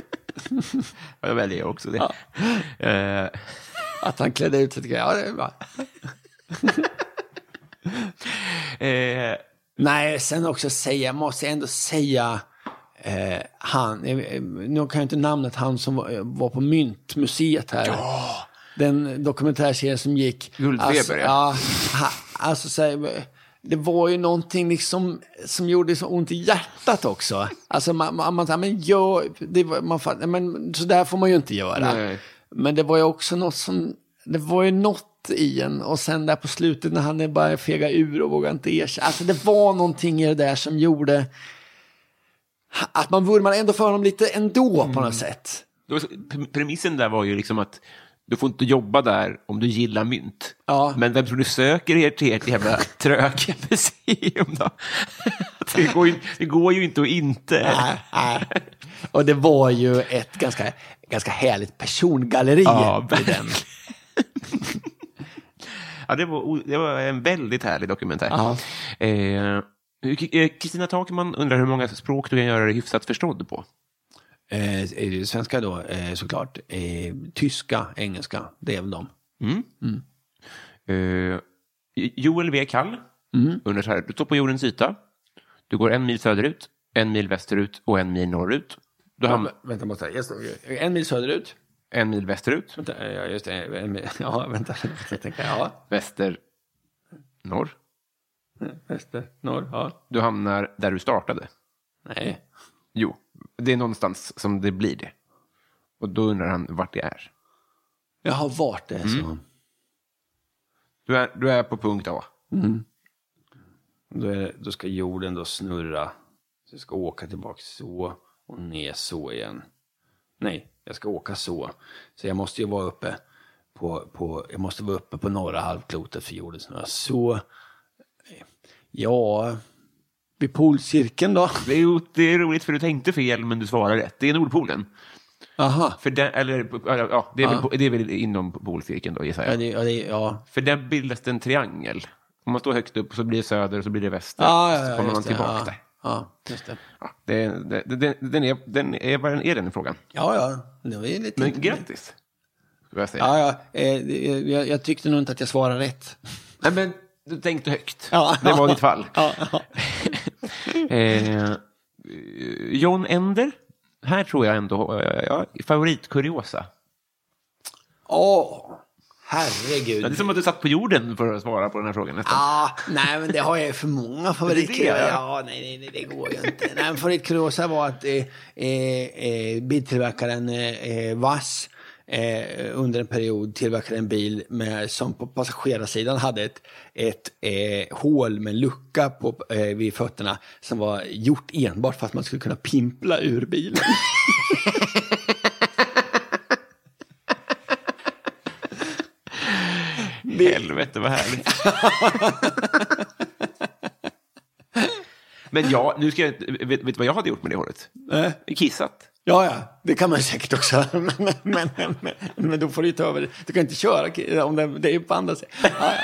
Speaker 1: Ja, Jag väljer också det. Eh,
Speaker 2: att han klädde ut sig. till- Ja, det är bra.
Speaker 1: eh,
Speaker 2: Nej, sen också säga, jag måste ändå säga, eh, han, eh, eh, nu kan jag inte namnet, han som var, eh, var på Myntmuseet här. Den dokumentärserien som gick.
Speaker 1: Guldfeber,
Speaker 2: alltså,
Speaker 1: ja.
Speaker 2: ja. ha, alltså, så här, det var ju någonting liksom som gjorde så ont i hjärtat också. Alltså man, man, man, sa, men, gör, det var, man fatt, men så där får man ju inte göra.
Speaker 1: Nej.
Speaker 2: Men det var ju också något som, det var ju något i en och sen där på slutet när han är bara fega ur och vågar inte erkänna. Alltså det var någonting i det där som gjorde att man vurmade ändå för honom lite ändå på något sätt.
Speaker 1: Det var så- pre- Premissen där var ju liksom att du får inte jobba där om du gillar mynt.
Speaker 2: Ja.
Speaker 1: Men vem tror du söker er till ert jävla tröga museum då? Det går ju, det går ju inte att inte.
Speaker 2: Nej, nej. Och det var ju ett ganska, ganska härligt persongalleri
Speaker 1: Ja,
Speaker 2: i den.
Speaker 1: Ja, det, var, o- det var en väldigt härlig dokumentär.
Speaker 2: Ja.
Speaker 1: Eh, K- eh, Kristina Takman undrar hur många språk du kan göra dig hyfsat förstådd på.
Speaker 2: Eh, är det svenska då, eh, såklart. Eh, tyska, engelska, det är väl de.
Speaker 1: Mm. Eh, Joel V. Kall undrar så här. Du står på jordens yta. Du går en mil söderut, en mil västerut och en mil norrut. Du hamnar
Speaker 2: Vänta, måste jag, jag står, en mil söderut.
Speaker 1: en mil västerut,
Speaker 2: Vänta, eh, ja, just det. En mil, ja, vänta. Jag tänker, ja,
Speaker 1: väster, norr.
Speaker 2: väster, norr, ja.
Speaker 1: Du hamnar där du startade.
Speaker 2: Nej.
Speaker 1: Jo, det är någonstans som det blir det. Och då undrar han vart det är.
Speaker 2: Jag har varit det. Så.
Speaker 1: Du är, du är på punkt A.
Speaker 2: Då, är, det- då ska jorden då snurra. Så jag ska åka tillbaka så och ner så igen. Nej, jag ska åka så. Så jag måste ju vara uppe på, på, jag måste vara uppe på norra halvklotet för jorden snurrar så. Ja, vid polcirkeln då.
Speaker 1: Det är, det är roligt för du tänkte fel men du svarar rätt. Det är Nordpolen.
Speaker 2: Aha.
Speaker 1: För den, eller, ja, det, är väl,
Speaker 2: Ja.
Speaker 1: det är väl inom polcirkeln då gissar
Speaker 2: Ja,
Speaker 1: jag.
Speaker 2: det, ja, det, ja.
Speaker 1: För där bildas det en triangel. Om man står högt upp så blir det söder och så blir det väster.
Speaker 2: Ja, ja,
Speaker 1: så
Speaker 2: ja,
Speaker 1: kommer man
Speaker 2: just det,
Speaker 1: tillbaka
Speaker 2: ja.
Speaker 1: där.
Speaker 2: Ja, just det.
Speaker 1: Ja, det, det, det, den, är, den är vad den är den frågan.
Speaker 2: Ja, ja. Det var ju lite...
Speaker 1: Men grattis. Skulle jag säga.
Speaker 2: Ja, ja. Eh, det- jag, jag tyckte nog inte att jag svarade rätt.
Speaker 1: Nej, men du tänkte högt.
Speaker 2: Ja.
Speaker 1: Det var ditt fall.
Speaker 2: Ja, ja.
Speaker 1: eh, John Ender. Här tror jag ändå, eh, ja, favoritkuriosa.
Speaker 2: Åh, herregud.
Speaker 1: Ja, Det är som att du satt på jorden för att svara på den här frågan. Nästan.
Speaker 2: Ah, nej, men det har jag ju för många
Speaker 1: Det
Speaker 2: favoritkuriosa.
Speaker 1: är det, ja.
Speaker 2: ja, nej, nej, nej, det går ju inte. Nej, men favoritkuriosa var att eh, eh, eh, biltillverkaren eh, eh, Vass eh, under en period tillverkade en bil med, som på passagerarsidan hade ett, ett eh, hål med en lucka på, eh, vid fötterna som var gjort enbart för att man skulle kunna pimpla ur bilen.
Speaker 1: Helvete vad härligt. Men ja, nu ska jag, vet, vet du vad jag hade gjort med det håret? Kissat.
Speaker 2: Ja, ja, det kan man säkert också. Men, men, men, men då får du ju ta över det. Du kan inte köra om det, det är ju på andra sidan. Ja, ja.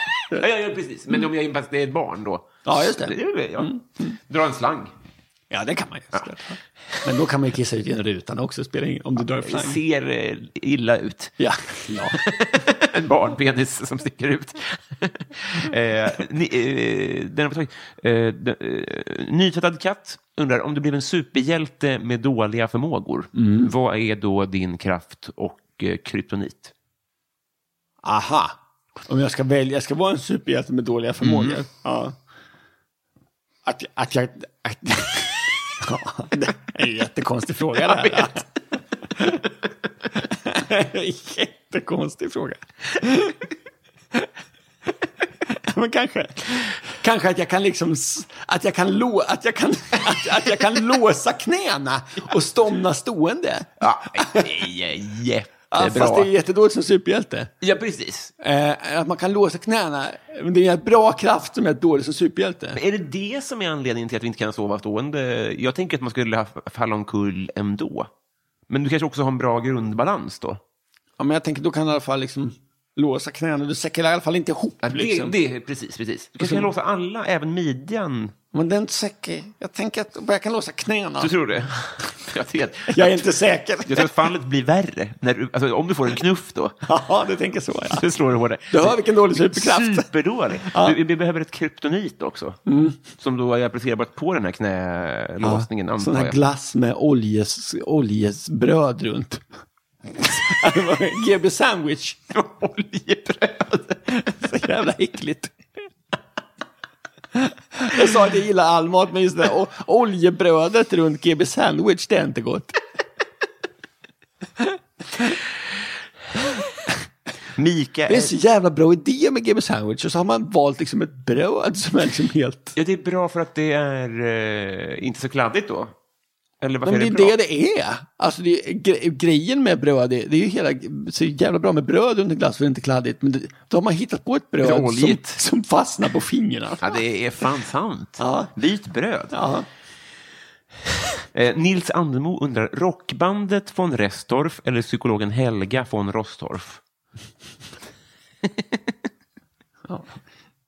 Speaker 1: Ja, ja, ja precis. Men om jag fast det är ett barn då?
Speaker 2: Ja, just det. Mm,
Speaker 1: är väl- ja. Dra en slang.
Speaker 2: Ja, det kan man ju. såklart. Men då kan man ju kissa ut genom rutan också, spelar ingen om du drar
Speaker 1: Det
Speaker 2: flang.
Speaker 1: ser eh, illa ut.
Speaker 2: Ja. ja.
Speaker 1: en barnpenis som sticker ut. eh, ni, eh, den har vi tagit. Eh, den, eh, nytvättad katt undrar om du blev en superhjälte med dåliga förmågor.
Speaker 2: Mm.
Speaker 1: Vad är då din kraft och eh, kryptonit?
Speaker 2: Aha. Mhm. Om jag ska välja, jag ska vara en superhjälte med dåliga förmågor. Ja. Att, att jag... Att, ja, det är en jättekonstig fråga det här. jättekonstig fråga. Men kanske, kanske att jag kan liksom, s- att jag kan, lå, att jag kan, att, att jag kan låsa knäna och stånga stående.
Speaker 1: Ja, det är
Speaker 2: Ja, fast det är
Speaker 1: eh, jättebra.
Speaker 2: jättedåligt som superhjälte.
Speaker 1: Ja, precis.
Speaker 2: Eh, att man kan låsa knäna. Men Det är en bra kraft som är dålig som superhjälte.
Speaker 1: Är det det som är anledningen till att vi inte kan sova stående? Jag tänker att man skulle ha falla omkull ändå. Men du kanske också har en bra grundbalans då?
Speaker 2: Ja, men jag tänker då kan du i alla fall liksom låsa knäna. Du säckar i alla fall inte ihop.
Speaker 1: Ja, det,
Speaker 2: liksom. Alltså-
Speaker 1: det, precis, precis. Du kanske kan låsa alla, även midjan.
Speaker 2: Men den säcker. Jag tänker att jag kan låsa knäna.
Speaker 1: Du tror det? Jag vet.
Speaker 2: Jag är inte säker.
Speaker 1: Jag tror att fallet blir värre. När du, alltså, om du får en knuff då.
Speaker 2: Ja, du tänker så ja.
Speaker 1: Så slår det hårdare.
Speaker 2: Du hör vilken dålig superkraft.
Speaker 1: Superdålig. Du, vi behöver ett kryptonit också.
Speaker 2: Mm.
Speaker 1: Som då är applicerbart på den här knälåsningen,
Speaker 2: Ja,
Speaker 1: antar
Speaker 2: sån här
Speaker 1: jag.
Speaker 2: glass med oljes, oljesbröd runt. GB sandwich.
Speaker 1: Oljebröd.
Speaker 2: Så jävla äckligt. Jag sa att jag gillar all mat, men just det där o- oljebrödet runt GB Sandwich, det är inte gott.
Speaker 1: Mikael.
Speaker 2: Det är så jävla bra idé med GB Sandwich, och så har man valt liksom ett bröd som är liksom helt...
Speaker 1: Ja, det är bra för att det är eh, inte så kladdigt då. Eller varför
Speaker 2: Men det
Speaker 1: är
Speaker 2: är
Speaker 1: det bra?
Speaker 2: det det är. Alltså det är gre grejen med bröd, det, det är ju hela, så jävla bra med bröd under glass för det är inte kladdigt, men det, då har man hittat på ett
Speaker 1: Det är
Speaker 2: bröd som,
Speaker 1: oljigt.
Speaker 2: som fastnar på fingrarna.
Speaker 1: Ja, det är fan sant.
Speaker 2: Ja.
Speaker 1: Vitt bröd.
Speaker 2: Ja.
Speaker 1: Eh, Nils Andemo undrar, rockbandet von Restorff eller psykologen Helga von Rostorff?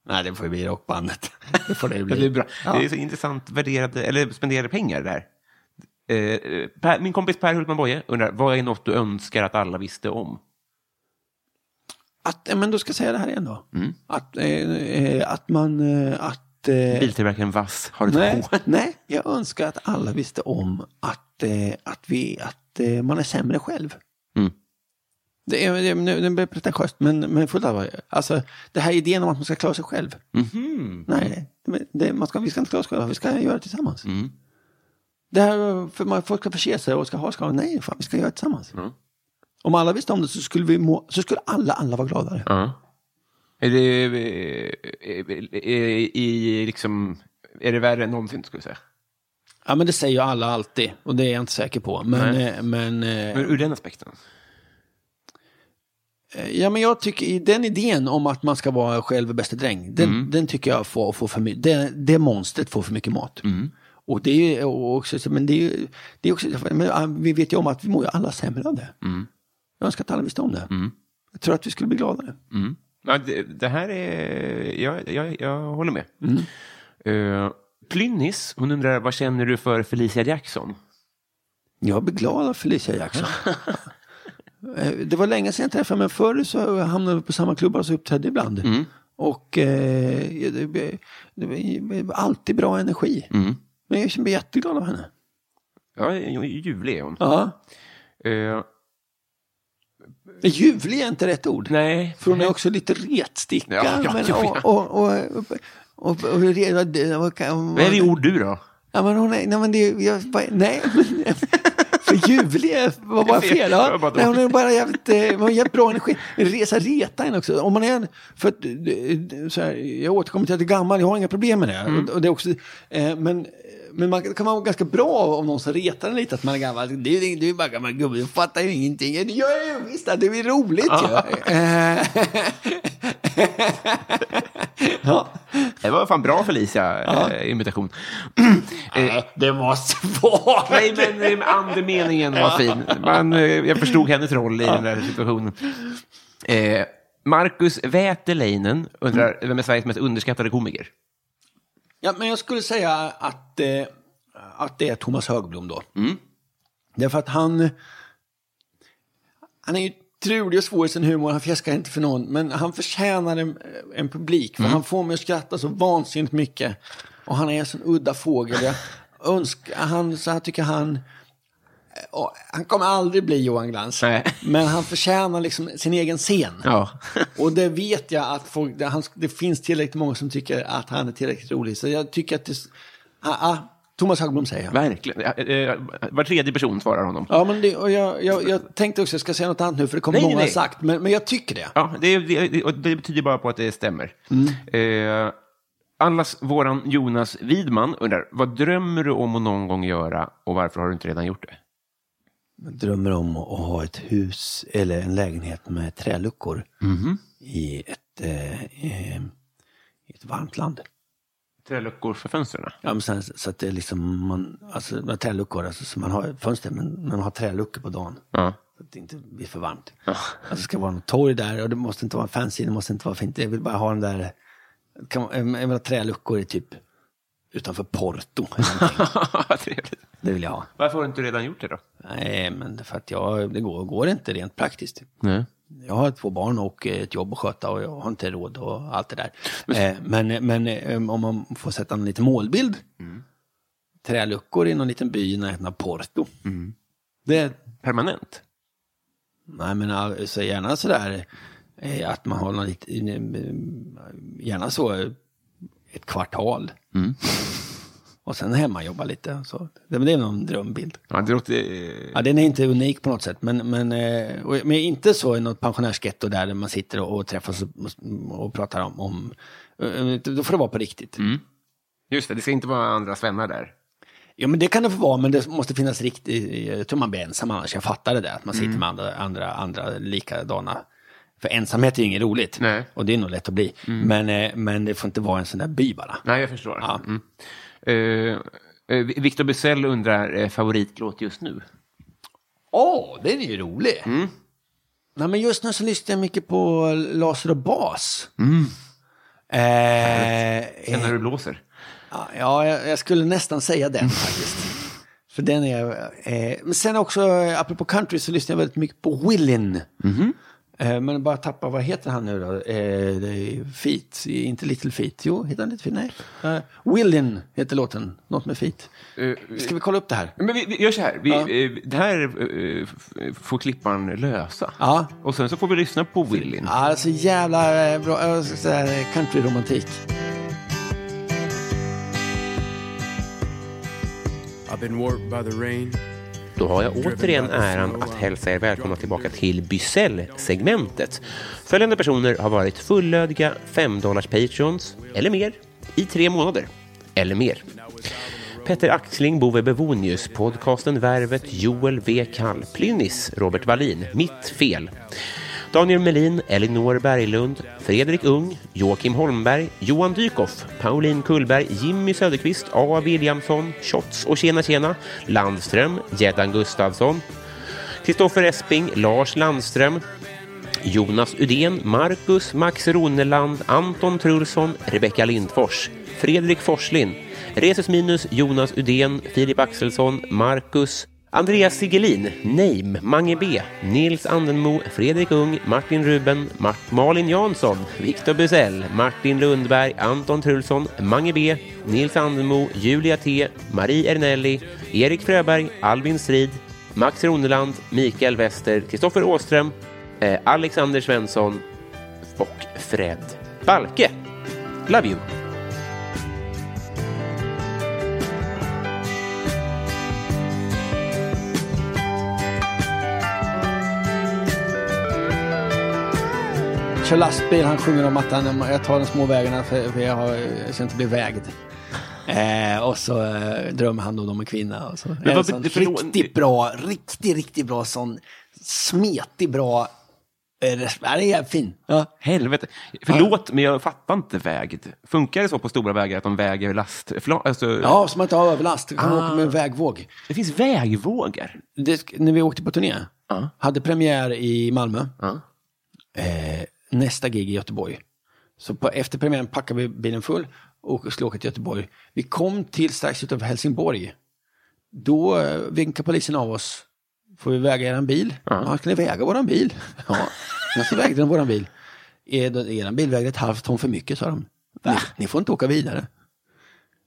Speaker 2: Nej, det får ju bli rockbandet. Det får det
Speaker 1: Ja, Det är,
Speaker 2: bli.
Speaker 1: bra. det är så intressant värderade, eller spenderade pengar där. Eh, eh, per, min kompis Per Hultman Boye undrar, vad är något du önskar att alla visste om?
Speaker 2: Att, eh, men då ska jag säga det här igen då.
Speaker 1: Mm.
Speaker 2: Att, eh, eh, att man... Eh, att, eh,
Speaker 1: Biltillverkaren Vass har ett
Speaker 2: nej,
Speaker 1: H.
Speaker 2: nej, jag önskar att alla visste om att, eh, att, vi, att eh, man är sämre själv.
Speaker 1: Mm.
Speaker 2: Det, är, det, nu, det blir pretentiöst, men, men fullt allvar. Alltså, det här idén om att man ska klara sig själv.
Speaker 1: Mm.
Speaker 2: Nej, men det, man ska, vi ska inte klara oss själva, vi ska göra det tillsammans.
Speaker 1: Mm.
Speaker 2: Det här, för man, folk ska förse sig och ska ha ska, nej, fan, vi ska göra det tillsammans.
Speaker 1: Mm.
Speaker 2: Om alla visste om det så skulle, vi må, så skulle alla, alla vara gladare.
Speaker 1: Ja. Är det, eh, eh, eh, i, liksom, är det värre än någonsin, skulle jag säga?
Speaker 2: Ja, men det säger ju alla alltid och det är jag inte säker på. Men,
Speaker 1: Nej.
Speaker 2: eh, men, eh,
Speaker 1: Men ur den aspekten?
Speaker 2: ja, men jag tycker i den idén om att man ska vara själv bäste dräng, den,
Speaker 1: Mm.
Speaker 2: den tycker jag får, får för mycket, det, det monstret får för mycket mat.
Speaker 1: Mm.
Speaker 2: Och det är ju också, så- men det är, ju- det är också, men ah, vi vet ju om att vi mår ju alla sämre av det.
Speaker 1: Mm.
Speaker 2: Jag önskar att alla visste om det. Jag tror att vi skulle bli gladare.
Speaker 1: Ja, det, det här är... Jag, jag, jag håller med. Eh, Plynnis, hon undrar vad känner du för Felicia Jackson?
Speaker 2: Jag blir glad av Felicia Jackson. Eh, det var länge sedan jag träffade henne, men förr så hamnade vi på samma klubbar så uppträdde ibland.
Speaker 1: Mm.
Speaker 2: Och eh, det, det, det var alltid bra energi.
Speaker 1: Mm.
Speaker 2: Men jag känner mig jätteglad av henne.
Speaker 1: Ja, ljuvlig är hon.
Speaker 2: Ja.
Speaker 1: Eh,
Speaker 2: Ljuvlig är inte rätt ord.
Speaker 1: nej.
Speaker 2: För hon är också lite retsticka.
Speaker 1: Ja, ja,
Speaker 2: men,
Speaker 1: ja, ja.
Speaker 2: Och, och, och, och, och, och, re- vad- vad kan-
Speaker 1: Vad är det ord du då?
Speaker 2: Ja, men hon är, nej, men det, jag, bara- nej, men, för ljuvlig är- var bara
Speaker 1: Det är fel.
Speaker 2: fel.
Speaker 1: Det var bara
Speaker 2: Ja.
Speaker 1: dåligt.
Speaker 2: Nej, hon är bara jävligt, eh, hon har jävligt bra energi. Resa reta en också. Om man är, för att, eh, så här, jag återkommer till att jag är gammal, jag har inga problem med det.
Speaker 1: Mm.
Speaker 2: Och, och det är också, eh, men men man kan vara ganska bra om någon som retar en lite att man är gammal. Du, du, du är bara gammal gubbe, du fattar ju ingenting. Det gör jag ju visst, det är roligt
Speaker 1: Ah.
Speaker 2: ju. Eh, ja.
Speaker 1: Det var fan bra Felicia eh, imitation. Eh,
Speaker 2: Det måste vara
Speaker 1: nej, men eh, andemeningen var fin. Man, eh, jag förstod hennes roll i den där situationen. Eh, Marcus Väteleinen undrar vem är Sveriges mest underskattade komiker?
Speaker 2: Ja, men jag skulle säga att, eh, att det är Thomas Högblom då.
Speaker 1: Mm.
Speaker 2: Därför att han... Han är ju trulig och svår i sin humor, han fjäskar inte för någon. Men han förtjänar en, en publik,
Speaker 1: Mm.
Speaker 2: för han får mig att skratta så vansinnigt mycket. Och han är en sån udda fågel. Jag önskar, han, så här tycker han... eh, och Han kommer aldrig bli Johan Glans,
Speaker 1: Nej.
Speaker 2: men han förtjänar liksom sin egen scen.
Speaker 1: Ja.
Speaker 2: Och det vet jag att folk, det, han, det finns tillräckligt många som tycker att han är tillräckligt rolig. Så jag tycker att det... Ah, ah, Thomas Hagblom säger jag.
Speaker 1: Verkligen. Eh, eh, Var tredje person svarar honom.
Speaker 2: Ja, men det, och jag, jag, jag tänkte också, jag ska säga något annat nu för det kommer
Speaker 1: Nej,
Speaker 2: många
Speaker 1: nej.
Speaker 2: sagt. Men, men jag tycker det.
Speaker 1: Ja, det, det, det- och det betyder bara på att det stämmer. Eh, allas våran Jonas Widman undrar, vad drömmer du om att någon gång göra och varför har du inte redan gjort det?
Speaker 2: Jag drömmer om att ha ett hus eller en lägenhet med träluckor
Speaker 1: Mhm.
Speaker 2: i, ett, eh, eh, i ett varmt land.
Speaker 1: Träluckor för fönstren?
Speaker 2: Ja, men sen, så att det är liksom, man, alltså med träluckor, alltså, så man har fönster men man har träluckor på dagen.
Speaker 1: Ja.
Speaker 2: Så att det inte blir för varmt. Alltså, det ska vara något torg där och det måste inte vara fancy, det måste inte vara fint. Jag vill bara ha den där, kan, man- jag menar träluckor är typ utanför Porto. eller någonting.
Speaker 1: Trevligt.
Speaker 2: det vill jag ha.
Speaker 1: Varför har du inte redan gjort det då?
Speaker 2: Nej, men det är för att jag, det går, går inte rent praktiskt.
Speaker 1: Nej.
Speaker 2: Jag har två barn och eh, ett jobb att sköta och jag har inte råd och allt det där. Eh, Men, men eh, om man får sätta en liten målbild. Träluckor i någon liten by i närheten av Porto. Det,
Speaker 1: Permanent?
Speaker 2: nej men alltså gärna sådär eh, att man har någon liten, eh, gärna så eh, ett kvartal. Och sen hemmajobba lite. Så. Det, men det är någon drömbild.
Speaker 1: Ja, det låter...
Speaker 2: Ja, den är inte unik på något sätt, men, men, eh, och- men inte så i något pensionärsgetto där man sitter och, och träffas och, och pratar om, om... eh, Då får det vara på riktigt.
Speaker 1: Mm. Just det, det ska inte vara andra svennar där.
Speaker 2: Ja, men det kan det få vara, men det måste finnas riktigt... Jag tror man blir ensam annars, jag fattar det där. Att man sitter
Speaker 1: Mm.
Speaker 2: med andra, andra, andra likadana. För ensamhet är ju inget roligt. Och det är nog lätt att bli. Men, eh, men det får inte vara en sån där by bara.
Speaker 1: Mm. Nej, jag förstår. Mm. Eh, eh, Victor Bysell undrar eh, favoritlåt just nu.
Speaker 2: Åh, den är ju rolig!
Speaker 1: Mm.
Speaker 2: Nej, men just nu så lyssnar jag mycket på Laser och Bas.
Speaker 1: Mm.
Speaker 2: Eh,
Speaker 1: Sen när du blåser.
Speaker 2: Ja, jag, jag skulle nästan säga den faktiskt. För den är... Eh, men sen också, eh, apropå country, så lyssnar jag väldigt mycket på Willin. Eh, men bara tappa, vad heter han nu då? Eh, det är Feet, inte Little Feet. Jo, heter han Little Feet? Nej. Eh, Willin heter låten, något med Feet. Ska vi kolla upp det här?
Speaker 1: Men vi, vi gör så här. Vi, eh, Det här eh, f- får klippan lösa.
Speaker 2: Ja.
Speaker 1: Och sen så får vi lyssna på Willin.
Speaker 2: Ja, det är så jävla eh, bra, jag ska säga eh, countryromantik.
Speaker 7: I've been warped by the rain.
Speaker 8: Då har jag återigen äran att hälsa er välkomna tillbaka till Bysell-segmentet. Följande personer har varit fullödiga 5 dollars patrons eller mer i tre månader eller mer. Petter Axling, Bove Bevonius, podcasten Värvet, Joel V. Kall, Plynnis, Robert Wallin, Mitt Fel, Daniel Melin, Elinor Berglund, Fredrik Ung, Joakim Holmberg, Johan Dykhoff, Pauline Kullberg, Jimmy Söderqvist, A. Williamson, Shots och Tjena Tjena, Landström, Gäddan Gustafsson, Kristoffer Esping, Lars Landström, Jonas Udén, Marcus, Max Roneland, Anton Trulsson, Rebecka Lindfors, Fredrik Forslin, Resus Minus, Jonas Udén, Filip Axelsson, Marcus, Andreas Sigelin, Neim, Mange B, Nils Andenmo, Fredrik Ung, Martin Ruben, Mart- Malin Jansson, Viktor Busell, Martin Lundberg, Anton Trulsson, Mange B, Nils Andenmo, Julia T, Marie Ernelli, Erik Fröberg, Albin Strid, Max Roneland, Mikael Wester, Kristoffer Åström, eh, Alexander Svensson och Fred Balke. Love you!
Speaker 2: Kör lastbil, han sjunger om att han, jag tar de små vägarna för, för jag, har, jag ska inte bli vägd. Eh, och så eh, drömmer han då om en kvinna. Och så.
Speaker 1: vad
Speaker 2: En sån
Speaker 1: bet- förlåt-
Speaker 2: riktigt bra, riktigt, riktigt bra sån smetig bra... eh, res- Ja, det är fin. Ja.
Speaker 1: Helvete. Förlåt, men jag fattar inte vägd. Funkar det så på stora vägar att de väger last... fla- Alltså,
Speaker 2: Ja, som att inte har överlast. Han
Speaker 1: Ah.
Speaker 2: åker med en vägvåg.
Speaker 1: Det finns vägvågar?
Speaker 2: när vi åkte på turné, hade premiär i Malmö. Eh, nästa gig i Göteborg. Så på, efter premiären packade vi bilen full och skulle åka till Göteborg. Vi kom till strax utanför Helsingborg. Då eh, vinkade polisen av oss. Får vi väga er bil? Ja, ska ni väga våran bil? Ja, men så vägde de våran bil. Er, er bil vägde ett halvt ton för mycket, sa de. Ni, ni får inte åka vidare.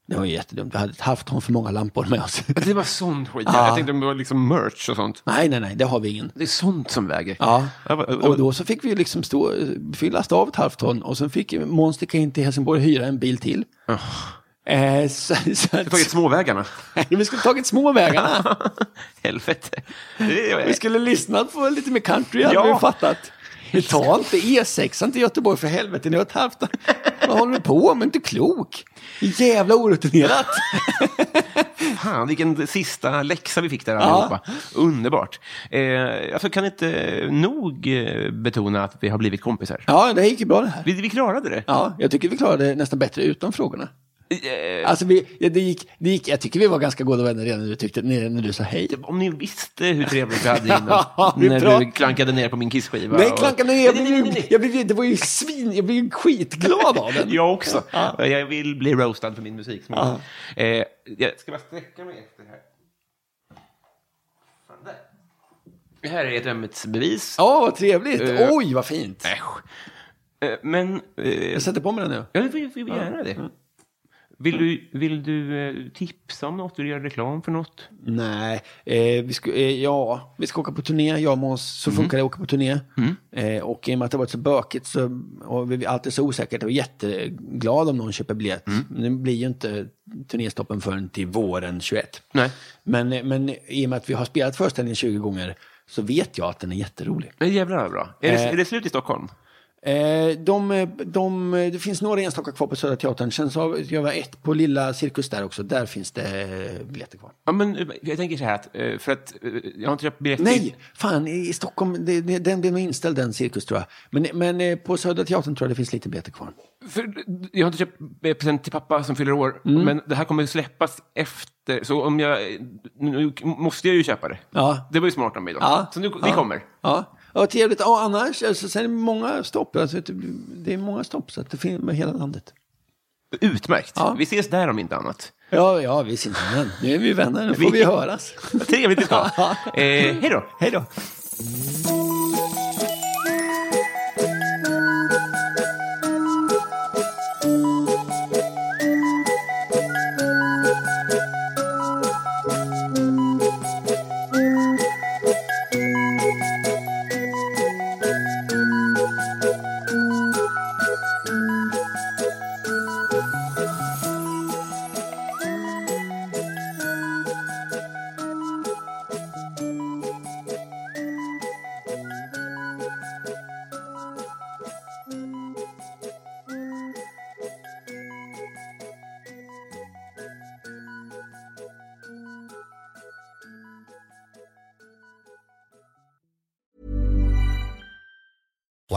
Speaker 2: Det var ju jättedumt. Vi hade ett halvt ton för många lampor med oss.
Speaker 1: Det var sån skit.
Speaker 2: Ja.
Speaker 1: Jag tänkte om det var liksom merch och sånt.
Speaker 2: Nej, nej, nej, det har vi ingen.
Speaker 1: Det är sånt som väger.
Speaker 2: Ja,
Speaker 1: Jag var-
Speaker 2: och då så fick vi ju liksom stå, fylla av ett halvt ton och sen fick Måns sticka in till Helsingborg och hyra en bil till. Eh, så, så
Speaker 1: Du har tagit småvägarna.
Speaker 2: Nej, vi skulle tagit små vägarna.
Speaker 1: Helvete. Det är-
Speaker 2: vi skulle lyssnat på lite mer country, hade
Speaker 1: Ja.
Speaker 2: vi fattat. Vi tar inte E6 till Göteborg för helvete, ni har ett halvt Vad håller ni på med? Inte klok. Jävla orutinerat.
Speaker 1: Fan, vilken sista läxa vi fick där allihopa. Underbart. Eh, alltså, kan inte nog eh, betona att vi har blivit kompisar.
Speaker 2: Ja, det gick ju bra det här.
Speaker 1: Vi, vi klarade det.
Speaker 2: Ja, jag tycker vi klarade det nästan bättre utan frågorna. Alltså vi, ja, det gick, det gick, jag tycker vi var ganska goda vänner redan när du, tyckte, när när du sa hej.
Speaker 1: Om ni visste hur trevligt vi hade innan.
Speaker 2: Ja, vi
Speaker 1: när
Speaker 2: pratar-
Speaker 1: du klankade ner på min kissskiva.
Speaker 2: Nej,
Speaker 1: och-
Speaker 2: klanka ner. Jag blev, ju- jag blev, ju- det var ju svin, jag blev ju skitglad av den.
Speaker 1: Jag också. Jag vill bli roastad för min musik.
Speaker 2: Ja.
Speaker 1: Eh, jag ska bara sträcka mig efter här. Fan, där. Det här är ett ömhetsbevis.
Speaker 2: Ja, vad trevligt.
Speaker 1: Eh.
Speaker 2: Oj, vad fint.
Speaker 1: Eh, Men... eh,
Speaker 2: Jag sätter på mig den nu.
Speaker 1: Ja, vi får vi får göra det. Vill du, vill du eh, tipsa om något? Vill du göra reklam för något?
Speaker 2: Nej, eh, vi, ska, eh, ja, vi ska åka på turné, jag och Måns. Så
Speaker 1: Mm.
Speaker 2: funkar det att åka på turné.
Speaker 1: Mm.
Speaker 2: Eh, och i och med att det har varit så bökigt så, och vi- allt är så osäkert, jag är jätteglad om någon köper biljett. Men det blir ju inte turnéstoppen förrän till våren 21.
Speaker 1: Nej.
Speaker 2: Men, eh, men i och med att vi har spelat föreställningen 20 gånger så vet jag att den är jätterolig.
Speaker 1: Det är jävlar vad bra. Är, det,
Speaker 2: Eh.
Speaker 1: är det slut i Stockholm?
Speaker 2: Eh, de, de, det finns några enstaka kvar på Södra Teatern. Sen så har- jag var ett på Lilla Cirkus där också. Där finns det biljetter kvar.
Speaker 1: Ja, men eh, jag tänker så här att, eh, för att eh, jag har inte köpt biljett till-
Speaker 2: Nej, fan, i i Stockholm, det, det, den blev nog inställd den cirkus tror jag. Men, men eh, på Södra Teatern tror jag det finns lite biljetter kvar.
Speaker 1: För, jag har inte köpt eh, present till pappa som fyller år, men det här kommer ju släppas efter. Så om jag, nu måste jag ju köpa det.
Speaker 2: Ja.
Speaker 1: Det var ju smart av mig då.
Speaker 2: Ja.
Speaker 1: Så nu,
Speaker 2: Ja.
Speaker 1: det kommer.
Speaker 2: Ja, ja trevligt. Ja, annars, alltså, sen är det många stopp. Alltså, det, det är många stopp, så att det finns med hela landet.
Speaker 1: Utmärkt. Vi ses där om inte annat.
Speaker 2: Ja, ja, vi syns igen. Nu är vi vänner, nu får vi höras.
Speaker 1: Trevligt det ska vara. eh, Hej då.
Speaker 2: Hej då.